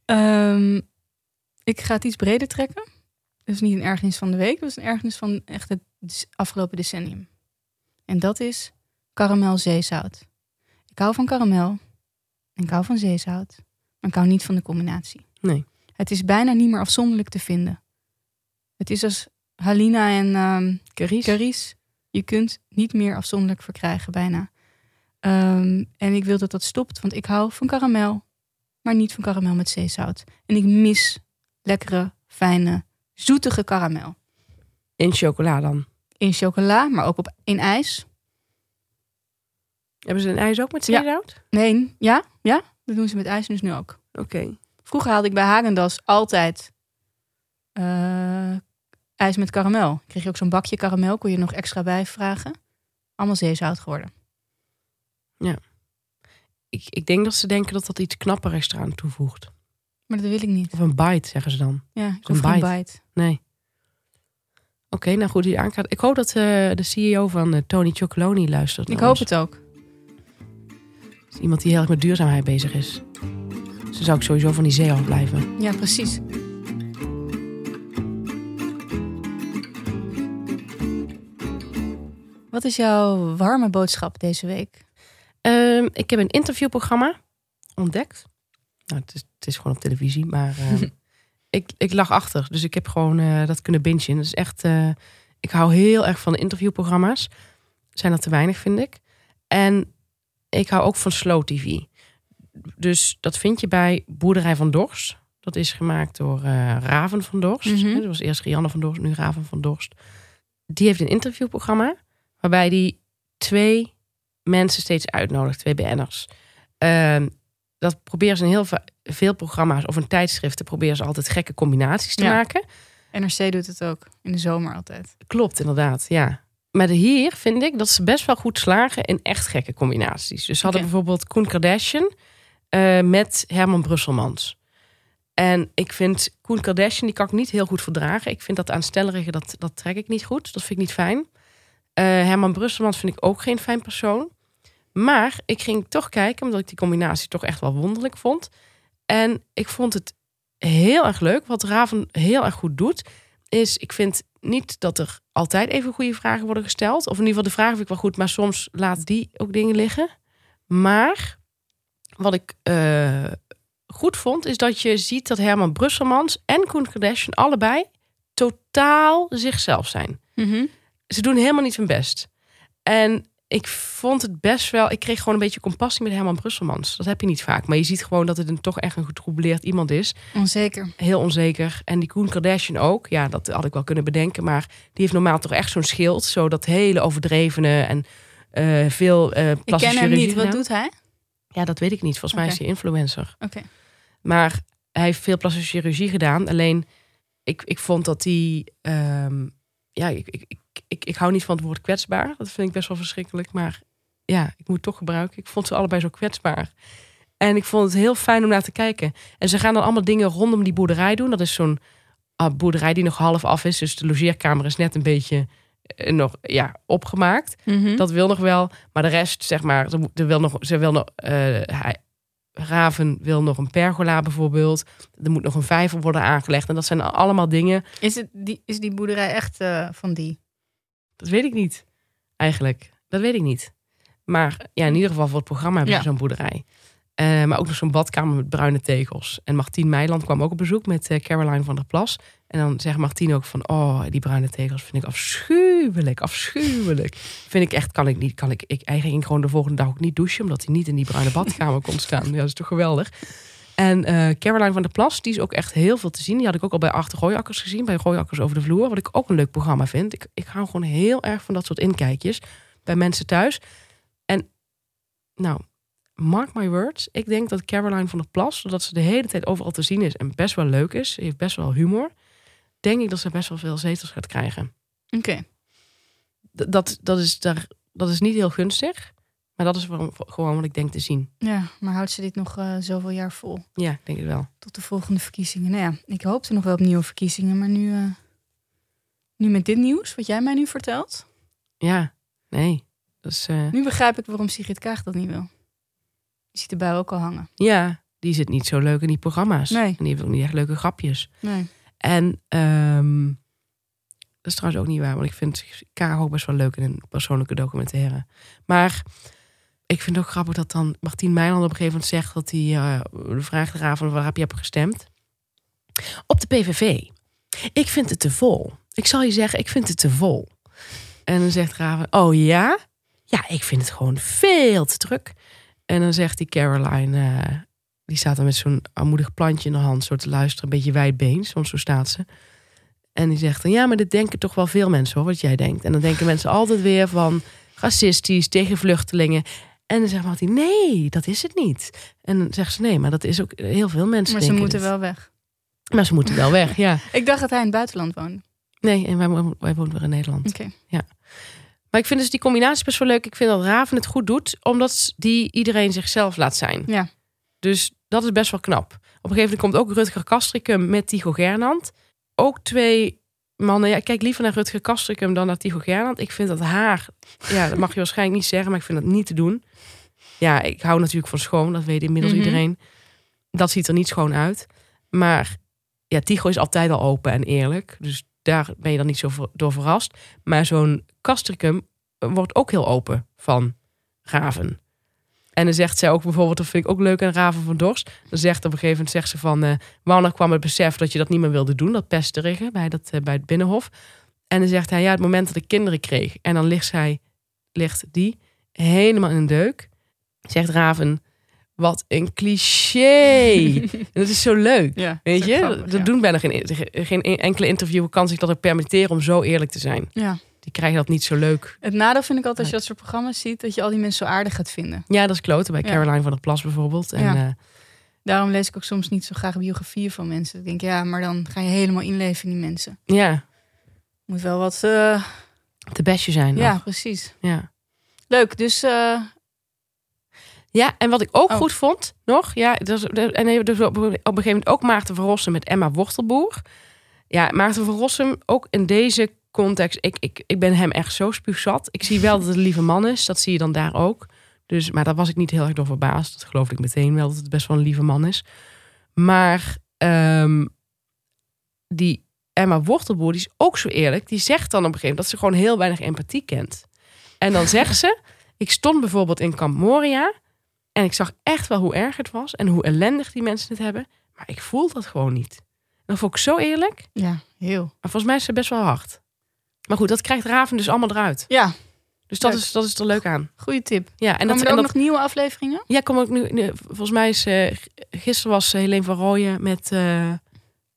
Speaker 2: Ehm, ik ga het iets breder trekken. Dat is niet een ergernis van de week. Dat is een ergernis van echt het des- afgelopen decennium. En dat is karamel zeezout. Ik hou van karamel. En ik hou van zeezout. Maar ik hou niet van de combinatie.
Speaker 1: Nee.
Speaker 2: Het is bijna niet meer afzonderlijk te vinden. Het is als Halina en ehm,
Speaker 1: Caries?
Speaker 2: Caries, je kunt niet meer afzonderlijk verkrijgen bijna. Ehm, en ik wil dat dat stopt, want ik hou van karamel, maar niet van karamel met zeezout. En ik mis lekkere, fijne, zoetige karamel.
Speaker 1: In chocola dan.
Speaker 2: In chocola, maar ook op, in ijs.
Speaker 1: Hebben ze een ijs ook met
Speaker 2: Ja.
Speaker 1: zeezout?
Speaker 2: Nee, ja, ja, dat doen ze met ijs dus nu ook.
Speaker 1: Oké.
Speaker 2: Vroeger haalde ik bij Hagendas altijd eh, ijs met karamel. Kreeg je ook zo'n bakje karamel, kon je er nog extra bij vragen. Allemaal zeezout geworden.
Speaker 1: Ik, ik denk dat ze denken dat dat iets knapperigs eraan toevoegt.
Speaker 2: Maar dat wil ik niet.
Speaker 1: Of een bite, zeggen ze dan.
Speaker 2: Ja, ik
Speaker 1: Zo'n
Speaker 2: hoef geen
Speaker 1: bite.
Speaker 2: bite.
Speaker 1: Nee. Oké, nou goed, die aankaart. Ik hoop dat eh, de CEO van eh, Tony Chocoloni luistert.
Speaker 2: Ik
Speaker 1: naar ons.
Speaker 2: hoop het ook.
Speaker 1: Is Iemand die heel erg met duurzaamheid bezig is. Ze zou ik sowieso van die zee afblijven.
Speaker 2: Ja, precies. Wat is jouw warme boodschap deze week?
Speaker 1: Ehm, ik heb een interviewprogramma ontdekt. Nou, het, is, het is gewoon op televisie, maar ehm, ik, ik lag achter. Dus ik heb gewoon eh, dat kunnen bingen. Dat is echt, eh, ik hou heel erg van interviewprogramma's. Zijn er te weinig, vind ik. En ik hou ook van slow tv. Dus dat vind je bij Boerderij van Dorst. Dat is gemaakt door eh, Raven van Dorst.
Speaker 2: Mhm.
Speaker 1: Dat was eerst Rianne van Dorst, nu Raven van Dorst. Die heeft een interviewprogramma waarbij die twee mensen steeds uitnodigt, twee BN'ers. Ehm, dat proberen ze in heel va- veel programma's of in tijdschriften proberen ze altijd gekke combinaties te
Speaker 2: Ja.
Speaker 1: maken.
Speaker 2: NRC doet het ook in de zomer altijd.
Speaker 1: Klopt, inderdaad, ja. Maar de hier vind ik dat ze best wel goed slagen in echt gekke combinaties. Dus ze hadden
Speaker 2: Oké.
Speaker 1: bijvoorbeeld Koen Kardashian eh, met Herman Brusselmans. En ik vind Koen Kardashian, die kan ik niet heel goed verdragen. Ik vind dat aanstellerige, dat, dat trek ik niet goed. Dat vind ik niet fijn. Eh, Herman Brusselmans vind ik ook geen fijn persoon. Maar ik ging toch kijken, omdat ik die combinatie toch echt wel wonderlijk vond. En ik vond het heel erg leuk. Wat Raven heel erg goed doet, is ik vind niet dat er altijd even goede vragen worden gesteld. Of in ieder geval de vragen vind ik wel goed, maar soms laat die ook dingen liggen. Maar wat ik eh, goed vond, is dat je ziet dat Herman Brusselmans en Koen Kardashian
Speaker 2: Mhm.
Speaker 1: allebei totaal zichzelf zijn. Ze doen helemaal niet hun best. En ik vond het best wel... Ik kreeg gewoon een beetje compassie met Herman Brusselmans. Dat heb je niet vaak. Maar je ziet gewoon dat het een, toch echt een getroubleerd iemand is.
Speaker 2: Onzeker.
Speaker 1: Heel onzeker. En die Koen Kardashian ook. Ja, dat had ik wel kunnen bedenken. Maar die heeft normaal toch echt zo'n schild. Zo dat hele overdrevene en eh, veel eh
Speaker 2: Ik
Speaker 1: plastische
Speaker 2: ken hem
Speaker 1: chirurgie
Speaker 2: niet. Wat
Speaker 1: gedaan.
Speaker 2: doet hij?
Speaker 1: Ja, dat weet ik niet. Volgens mij is
Speaker 2: Oké.
Speaker 1: hij influencer.
Speaker 2: Oké.
Speaker 1: Maar hij heeft veel plastische chirurgie gedaan. Alleen, ik, ik vond dat hij... ehm, ja, ik, ik, ik, ik, ik hou niet van het woord kwetsbaar. Dat vind ik best wel verschrikkelijk. Maar ja, ik moet het toch gebruiken. Ik vond ze allebei zo kwetsbaar. En ik vond het heel fijn om naar te kijken. En ze gaan dan allemaal dingen rondom die boerderij doen. Dat is zo'n ah, boerderij die nog half af is. Dus de logeerkamer is net een beetje eh, nog ja, opgemaakt.
Speaker 2: Mhm.
Speaker 1: Dat wil nog wel. Maar de rest, zeg maar, ze, moet- er wil nog, ze wil nog, eh, hij, Raven wil nog een pergola bijvoorbeeld. Er moet nog een vijver worden aangelegd. En dat zijn allemaal dingen,
Speaker 2: Is, het, die, is die boerderij echt eh, van die?
Speaker 1: dat weet ik niet eigenlijk. Dat weet ik niet. Maar ja, in ieder geval voor het programma hebben ze
Speaker 2: Ja.
Speaker 1: zo'n boerderij. Eh, maar ook nog zo'n badkamer met bruine tegels. En Martien Meiland kwam ook op bezoek met eh, Caroline van der Plas. En dan zegt Martien ook van, oh, die bruine tegels vind ik afschuwelijk, afschuwelijk. Vind ik echt, kan ik niet, kan ik, ik eigenlijk ging gewoon de volgende dag ook niet douchen, omdat hij niet in die bruine badkamer kon staan. Ja, dat is toch geweldig. En eh, Caroline van der Plas, die is ook echt heel veel te zien. Die had ik ook al bij Achter Gooiakkers gezien, bij Gooiakkers over de vloer. Wat ik ook een leuk programma vind. Ik, ik hou gewoon heel erg van dat soort inkijkjes bij mensen thuis. En nou, mark my words. Ik denk dat Caroline van der Plas, doordat ze de hele tijd overal te zien is en best wel leuk is, ze heeft best wel humor, denk ik dat ze best wel veel zetels gaat krijgen.
Speaker 2: Oké.
Speaker 1: D- dat, dat, is daar, dat is niet heel gunstig, maar dat is waarom- gewoon wat ik denk te zien.
Speaker 2: Ja, maar houdt ze dit nog eh, zoveel jaar vol?
Speaker 1: Ja, ik denk het wel.
Speaker 2: Tot de volgende verkiezingen. Nou ja, ik hoopte nog wel op nieuwe verkiezingen. Maar nu, eh, nu met dit nieuws, wat jij mij nu vertelt.
Speaker 1: Ja, nee. Dat is, eh,
Speaker 2: Nu begrijp ik waarom Sigrid Kaag dat niet wil. Je ziet de bui ook al hangen.
Speaker 1: ja, die zit niet zo leuk in die programma's.
Speaker 2: Nee.
Speaker 1: En die heeft ook niet echt leuke grapjes.
Speaker 2: Nee.
Speaker 1: En ehm, dat is trouwens ook niet waar, want ik vind Kaag ook best wel leuk in een persoonlijke documentaire. Maar ik vind het ook grappig dat dan Martien Meiland op een gegeven moment zegt dat hij eh, de vraag eraan van waar heb je op gestemd? Op de PVV. Ik vind het te vol. Ik zal je zeggen, ik vind het te vol. En dan zegt Raven, oh ja? Ja, ik vind het gewoon veel te druk. En dan zegt die Caroline, eh, die staat dan met zo'n armoedig plantje in de hand, zo te luisteren, een beetje wijdbeens, want zo staat ze. En die zegt dan, ja, maar dit denken toch wel veel mensen hoor, wat jij denkt. En dan denken mensen altijd weer van racistisch, tegen vluchtelingen. En dan zegt Martin, nee, dat is het niet. En dan zegt ze, nee, maar dat is ook eh, heel veel mensen.
Speaker 2: Maar ze
Speaker 1: denken
Speaker 2: moeten
Speaker 1: dit.
Speaker 2: wel weg.
Speaker 1: Maar ze moeten wel weg, ja.
Speaker 2: Ik dacht dat hij in het buitenland woonde.
Speaker 1: Nee, en wij, wo- wij wonen weer in Nederland.
Speaker 2: Oké.
Speaker 1: Maar ik vind dus die combinatie best wel leuk. Ik vind dat Raven het goed doet, omdat die iedereen zichzelf laat zijn.
Speaker 2: Ja.
Speaker 1: Dus dat is best wel knap. Op een gegeven moment komt ook Rutger Kastrikum met Tycho Gernand. Ook twee mannen. Ja, ik kijk liever naar Rutger Kastrikum dan naar Tycho Gernand. Ik vind dat haar, ja, dat mag je waarschijnlijk niet zeggen, maar ik vind dat niet te doen. Ja, ik hou natuurlijk van schoon, dat weet inmiddels
Speaker 2: Mhm.
Speaker 1: iedereen. Dat ziet er niet schoon uit. Maar ja, Tycho is altijd al open en eerlijk. Dus daar ben je dan niet zo ver- door verrast. Maar zo'n Kastricum wordt ook heel open van Raven. En dan zegt zij ook bijvoorbeeld, dat vind ik ook leuk aan Raven van Dorst. Dan zegt op een gegeven moment zegt ze van, eh wanneer kwam het besef dat je dat niet meer wilde doen, dat pesterige bij, dat, eh, bij het binnenhof. En dan zegt hij, ja, het moment dat ik kinderen kreeg. En dan ligt zij, ligt die helemaal in een deuk. Zegt Raven, wat een cliché. En dat is zo leuk.
Speaker 2: Ja.
Speaker 1: Weet
Speaker 2: dat is
Speaker 1: je,
Speaker 2: ook grappig,
Speaker 1: dat
Speaker 2: ja.
Speaker 1: doen bijna geen, geen enkele interviewer kan zich dat ook permitteren om zo eerlijk te zijn.
Speaker 2: Ja.
Speaker 1: Die krijgen dat niet zo leuk.
Speaker 2: Het nadeel vind ik altijd als je dat soort programma's ziet, dat je al die mensen zo aardig gaat vinden.
Speaker 1: Ja, dat is kloten bij
Speaker 2: Ja.
Speaker 1: Caroline van der Plas bijvoorbeeld. En,
Speaker 2: Ja.
Speaker 1: eh,
Speaker 2: Daarom lees ik ook soms niet zo graag biografieën van mensen. Ik denk, ja, maar dan ga je helemaal inleven in die mensen.
Speaker 1: eh, ja,
Speaker 2: Moet wel wat. eh,
Speaker 1: te bestje zijn.
Speaker 2: ja,
Speaker 1: nog.
Speaker 2: precies.
Speaker 1: ja.
Speaker 2: Leuk, dus eh,
Speaker 1: Ja, en wat ik ook
Speaker 2: Oh.
Speaker 1: goed vond nog, ja, dat is- dat- en dus op op een gegeven moment ook Maarten van Rossum met Emma Wortelboer. Ja, Maarten van Rossum, ook in deze context, ik, ik, ik ben hem echt zo spuugzat. Ik zie wel dat het een lieve man is, dat zie je dan daar ook. Dus, maar daar was ik niet heel erg door verbaasd. Dat geloof ik meteen wel, dat het best wel een lieve man is. Maar ehm, die Emma Wortelboer, die is ook zo eerlijk. Die zegt dan op een gegeven moment dat ze gewoon heel weinig empathie kent. En dan zegt ze, ik stond bijvoorbeeld in Kamp Moria... En ik zag echt wel hoe erg het was en hoe ellendig die mensen het hebben. Maar ik voel dat gewoon niet. En dat vond ik zo eerlijk.
Speaker 2: ja, heel.
Speaker 1: Maar volgens mij is ze best wel hard. Maar goed, dat krijgt Raven dus allemaal eruit.
Speaker 2: Ja,
Speaker 1: Dus dat
Speaker 2: Leuk.
Speaker 1: is, dat is er leuk aan.
Speaker 2: Goeie tip.
Speaker 1: Ja, en
Speaker 2: En
Speaker 1: dat,
Speaker 2: dat,
Speaker 1: en
Speaker 2: er ook
Speaker 1: dat
Speaker 2: nog nieuwe afleveringen?
Speaker 1: Ja, kom ook nu. nu- Volgens mij is eh, g- gisteren was eh, Helene van Rooyen met eh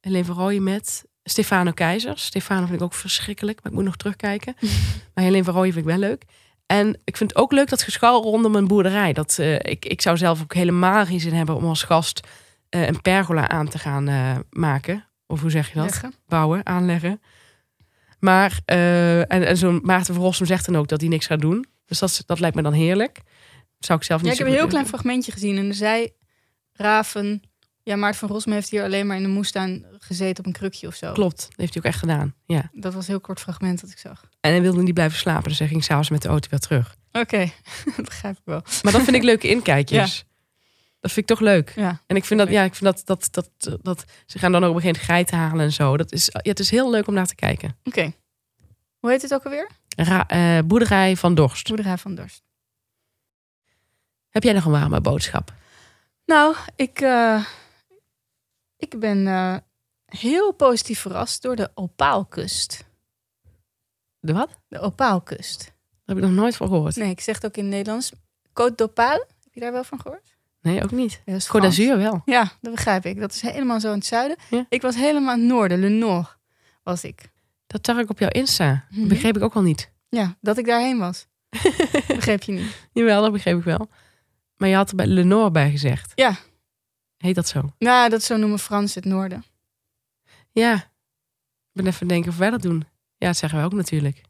Speaker 1: Helene van Rooyen met Stefano Keizer. Stefano vind ik ook verschrikkelijk, maar ik moet nog terugkijken. maar Helene van Rooyen vind ik wel leuk. En ik vind het ook leuk dat geschouw rondom een boerderij. Dat, eh, ik, ik zou zelf ook helemaal geen zin hebben om als gast eh, een pergola aan te gaan eh, maken. Of hoe zeg je dat?
Speaker 2: Leggen.
Speaker 1: bouwen, aanleggen. Maar, eh, en, en zo'n Maarten van Rossum zegt dan ook dat hij niks gaat doen. Dus dat, is- dat lijkt me dan heerlijk. Zou ik zelf niet
Speaker 2: Ja, ik
Speaker 1: zo
Speaker 2: heb een heel
Speaker 1: goed-
Speaker 2: klein fragmentje gezien en er zei Raven... Ja, Maarten van Rosme heeft hier alleen maar in de moestuin gezeten op een krukje of zo.
Speaker 1: Klopt, dat heeft hij ook echt gedaan. Ja.
Speaker 2: Dat was een heel kort fragment dat ik zag.
Speaker 1: En hij wilde niet blijven slapen, dus hij ging s'avonds met de auto weer terug.
Speaker 2: Oké, dat begrijp ik wel.
Speaker 1: Maar dat vind ik leuke inkijkjes. Dat vind ik toch leuk.
Speaker 2: Ja,
Speaker 1: En ik vind dat, ja, ik vind dat, dat, dat, dat ze gaan dan ook op een gegeven moment geiten halen en zo. Dat is, ja, het is heel leuk om naar te kijken.
Speaker 2: oké. Hoe heet het ook alweer?
Speaker 1: Ra- eh, boerderij van Dorst.
Speaker 2: Boerderij van Dorst.
Speaker 1: Heb jij nog een warme boodschap?
Speaker 2: Nou, ik, eh, ik ben eh, heel positief verrast door de opaalkust.
Speaker 1: De wat?
Speaker 2: De opaalkust.
Speaker 1: Daar heb ik nog nooit van gehoord.
Speaker 2: Nee, ik zeg het ook in het Nederlands. Côte d'Opale. Heb je daar wel van gehoord?
Speaker 1: Nee, ook niet.
Speaker 2: Dat is
Speaker 1: Côte
Speaker 2: Frans.
Speaker 1: d'Azur wel.
Speaker 2: Ja, dat begrijp ik. Dat is helemaal zo in het zuiden.
Speaker 1: Ja.
Speaker 2: Ik was helemaal in het noorden, Le Nord was ik.
Speaker 1: Dat zag ik op jouw Insta.
Speaker 2: Mhm.
Speaker 1: Begreep ik ook al niet.
Speaker 2: Ja, dat ik daarheen was. Begreep je niet?
Speaker 1: Jawel, dat begreep ik wel. Maar je had er bij Lenore bij gezegd.
Speaker 2: Ja.
Speaker 1: Heet dat zo?
Speaker 2: Nou, dat zo noemen Frans het noorden.
Speaker 1: Ja. Ik ben even aan het denken of wij dat doen. Ja, dat zeggen wij ook natuurlijk.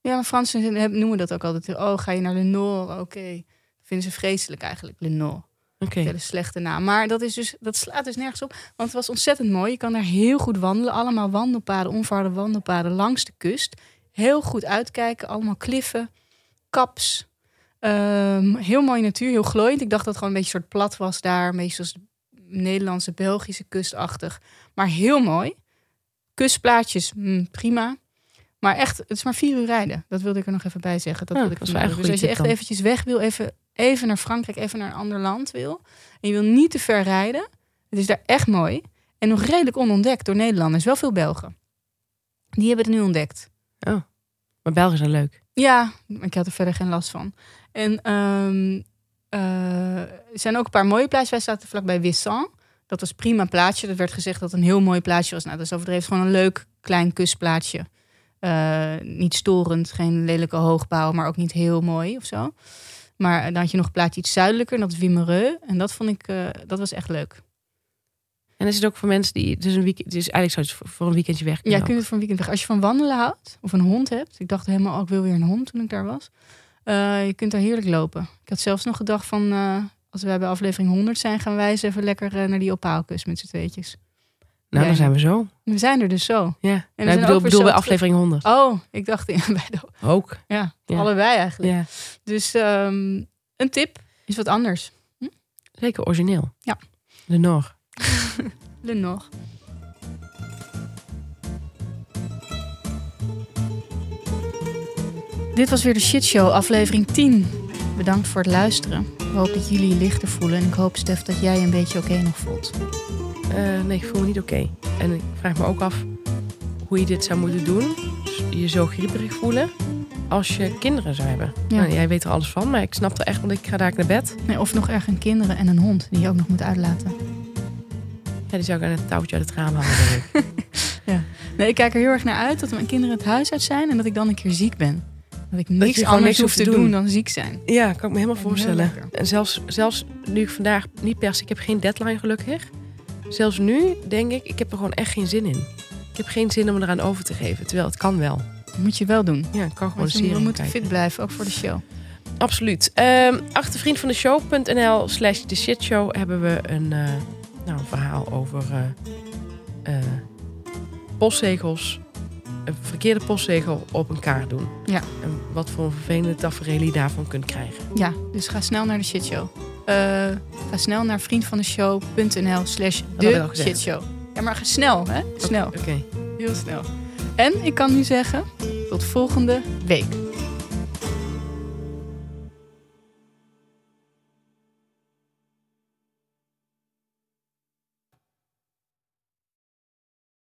Speaker 2: Ja, maar Fransen heb- noemen dat ook altijd. Oh, ga je naar Le Nord? Oké. Dat vinden ze vreselijk eigenlijk, Le Nord.
Speaker 1: Oké.
Speaker 2: Een hele slechte naam. Maar dat, is dus, dat slaat dus nergens op. Want het was ontzettend mooi. Je kan daar heel goed wandelen. Allemaal wandelpaden, onverharde wandelpaden langs de kust. Heel goed uitkijken. Allemaal kliffen, kaps. Ehm, heel mooie natuur, heel glooiend. Ik dacht dat het gewoon een beetje een soort plat was daar. Een beetje zoals de Nederlandse, Belgische kustachtig. Maar heel mooi. Kustplaatjes, mm, prima. Maar echt, het is maar vier uur rijden. Dat wilde ik er nog even bij zeggen. Dat
Speaker 1: Ja,
Speaker 2: wilde ik
Speaker 1: dat is
Speaker 2: vandaag
Speaker 1: wel een
Speaker 2: doen. Dus als je
Speaker 1: goede
Speaker 2: echt
Speaker 1: tip dan.
Speaker 2: eventjes weg wil, even, even naar Frankrijk, even naar een ander land wil. En je wil niet te ver rijden. Het is daar echt mooi. En nog redelijk onontdekt door Nederlanders. Wel veel Belgen. Die hebben het nu ontdekt.
Speaker 1: Maar Belgen zijn leuk.
Speaker 2: Ja, maar ik had er verder geen last van. En ehm, eh, er zijn ook een paar mooie plaatjes. Wij zaten vlakbij Wissan. Dat was prima plaatje. Dat werd gezegd dat het een heel mooi plaatje was. Nou, dat is overdreven. Het is Gewoon een leuk klein kustplaatje. Eh, niet storend, geen lelijke hoogbouw, maar ook niet heel mooi of zo. Maar eh, dan had je nog een plaatje iets zuidelijker, en dat is Wimereux. En dat vond ik, eh, dat was echt leuk.
Speaker 1: En is het ook voor mensen die... Dus, een weekend, dus eigenlijk zou je het voor- voor een weekendje weg
Speaker 2: Ja,
Speaker 1: kunnen.
Speaker 2: kun je het voor een weekend weg. Als je van wandelen houdt of een hond hebt. Ik dacht helemaal, oh, ik wil weer een hond toen ik daar was. Eh, je kunt daar heerlijk lopen. Ik had zelfs nog gedacht van, eh, als wij bij aflevering 100 zijn, gaan wij eens even lekker eh, naar die opaalkus met z'n tweetjes.
Speaker 1: nou, dan
Speaker 2: Ja.
Speaker 1: zijn we zo.
Speaker 2: We zijn er dus zo.
Speaker 1: Ja.
Speaker 2: zijn
Speaker 1: Nou, ik
Speaker 2: ook Oh,
Speaker 1: bedoel,
Speaker 2: weer
Speaker 1: bedoel
Speaker 2: zo
Speaker 1: bij
Speaker 2: terug.
Speaker 1: aflevering 100.
Speaker 2: Oh, ik dacht in, bij de,
Speaker 1: Ook.
Speaker 2: ja,
Speaker 1: Ja.
Speaker 2: allebei eigenlijk.
Speaker 1: Ja.
Speaker 2: Dus ehm, een tip is wat anders.
Speaker 1: Zeker origineel.
Speaker 2: Ja.
Speaker 1: Lenore.
Speaker 2: Lun nog. Dit was weer de Shitshow, aflevering 10. Bedankt voor het luisteren. Ik hoop dat jullie je lichter voelen en ik hoop, Stef, dat jij je een beetje oké nog voelt.
Speaker 1: Eh, nee, ik voel me niet oké. En ik vraag me ook af hoe je dit zou moeten doen. Dus Je zo grieperig voelen als je kinderen zou hebben.
Speaker 2: Ja.
Speaker 1: Nou, jij weet er alles van, maar ik snap er echt, want ik ga daar naar bed.
Speaker 2: Nee, of nog erg een kinderen en een hond die je ook nog moet uitlaten.
Speaker 1: Ja, die zou ik aan het touwtje uit het raam hangen, denk ik.
Speaker 2: Nee, ik kijk er heel erg naar uit dat mijn kinderen het huis uit zijn en dat ik dan een keer ziek ben. Dat ik
Speaker 1: je
Speaker 2: niks
Speaker 1: gewoon
Speaker 2: anders
Speaker 1: niks
Speaker 2: hoef
Speaker 1: hoeft
Speaker 2: te
Speaker 1: te
Speaker 2: doen.
Speaker 1: doen.
Speaker 2: dan ziek zijn.
Speaker 1: Ja, kan ik me helemaal
Speaker 2: Heel
Speaker 1: voorstellen.
Speaker 2: lekker.
Speaker 1: En zelfs, zelfs nu ik vandaag niet pers, ik heb geen deadline gelukkig. Zelfs nu denk ik, ik heb er gewoon echt geen zin in. Ik heb geen zin om eraan over te geven. Terwijl het kan wel.
Speaker 2: Dat moet je wel doen.
Speaker 1: Ja, ik kan gewoon
Speaker 2: Want je- we
Speaker 1: serie
Speaker 2: moeten
Speaker 1: kijken.
Speaker 2: fit blijven, ook voor de show.
Speaker 1: Absoluut. Ehm achtervriend van de show.nl slash de shitshow hebben we een, eh, nou, een verhaal over eh, eh, postzegels. Een verkeerde postzegel op een kaart doen.
Speaker 2: Ja.
Speaker 1: En wat voor een vervelende tafereel je daarvan kunt krijgen.
Speaker 2: Ja, dus ga snel naar de shitshow. Eh, ga snel naar vriendvandeshow.nl slash
Speaker 1: had ik al
Speaker 2: de
Speaker 1: gezegd.
Speaker 2: shitshow. Ja, maar ga snel, hè? Snel.
Speaker 1: Oké.
Speaker 2: Heel snel. En ik kan nu zeggen, tot volgende week.